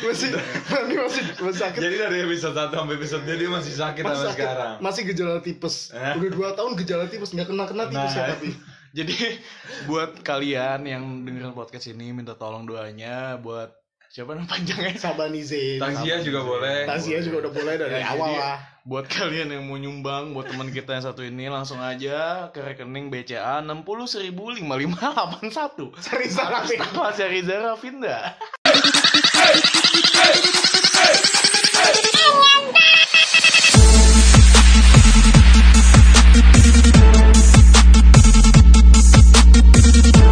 [SPEAKER 3] masih Bani masih masih sakit
[SPEAKER 1] Jadi dari episode 1 sampai episode dia, dia masih sakit
[SPEAKER 3] Masih
[SPEAKER 1] sampai
[SPEAKER 3] sakit.
[SPEAKER 1] sekarang.
[SPEAKER 3] masih gejala tipes
[SPEAKER 1] Eh.
[SPEAKER 3] udah dua tahun gejala tipes nggak kena kena tipes ya
[SPEAKER 1] Nah.
[SPEAKER 3] tapi
[SPEAKER 2] Jadi [laughs] buat kalian yang dengerin podcast ini minta tolong doanya buat siapa nama panjangnya?
[SPEAKER 3] Sabanizin
[SPEAKER 1] Takziah juga boleh.
[SPEAKER 3] Tasia juga udah boleh dari
[SPEAKER 2] Ya,
[SPEAKER 3] awal
[SPEAKER 2] jadi-
[SPEAKER 3] lah
[SPEAKER 2] Buat kalian yang mau nyumbang buat teman kita yang satu ini langsung aja ke rekening BCA 60.05581.
[SPEAKER 3] serius tapi
[SPEAKER 2] Atas Riza Rafinda.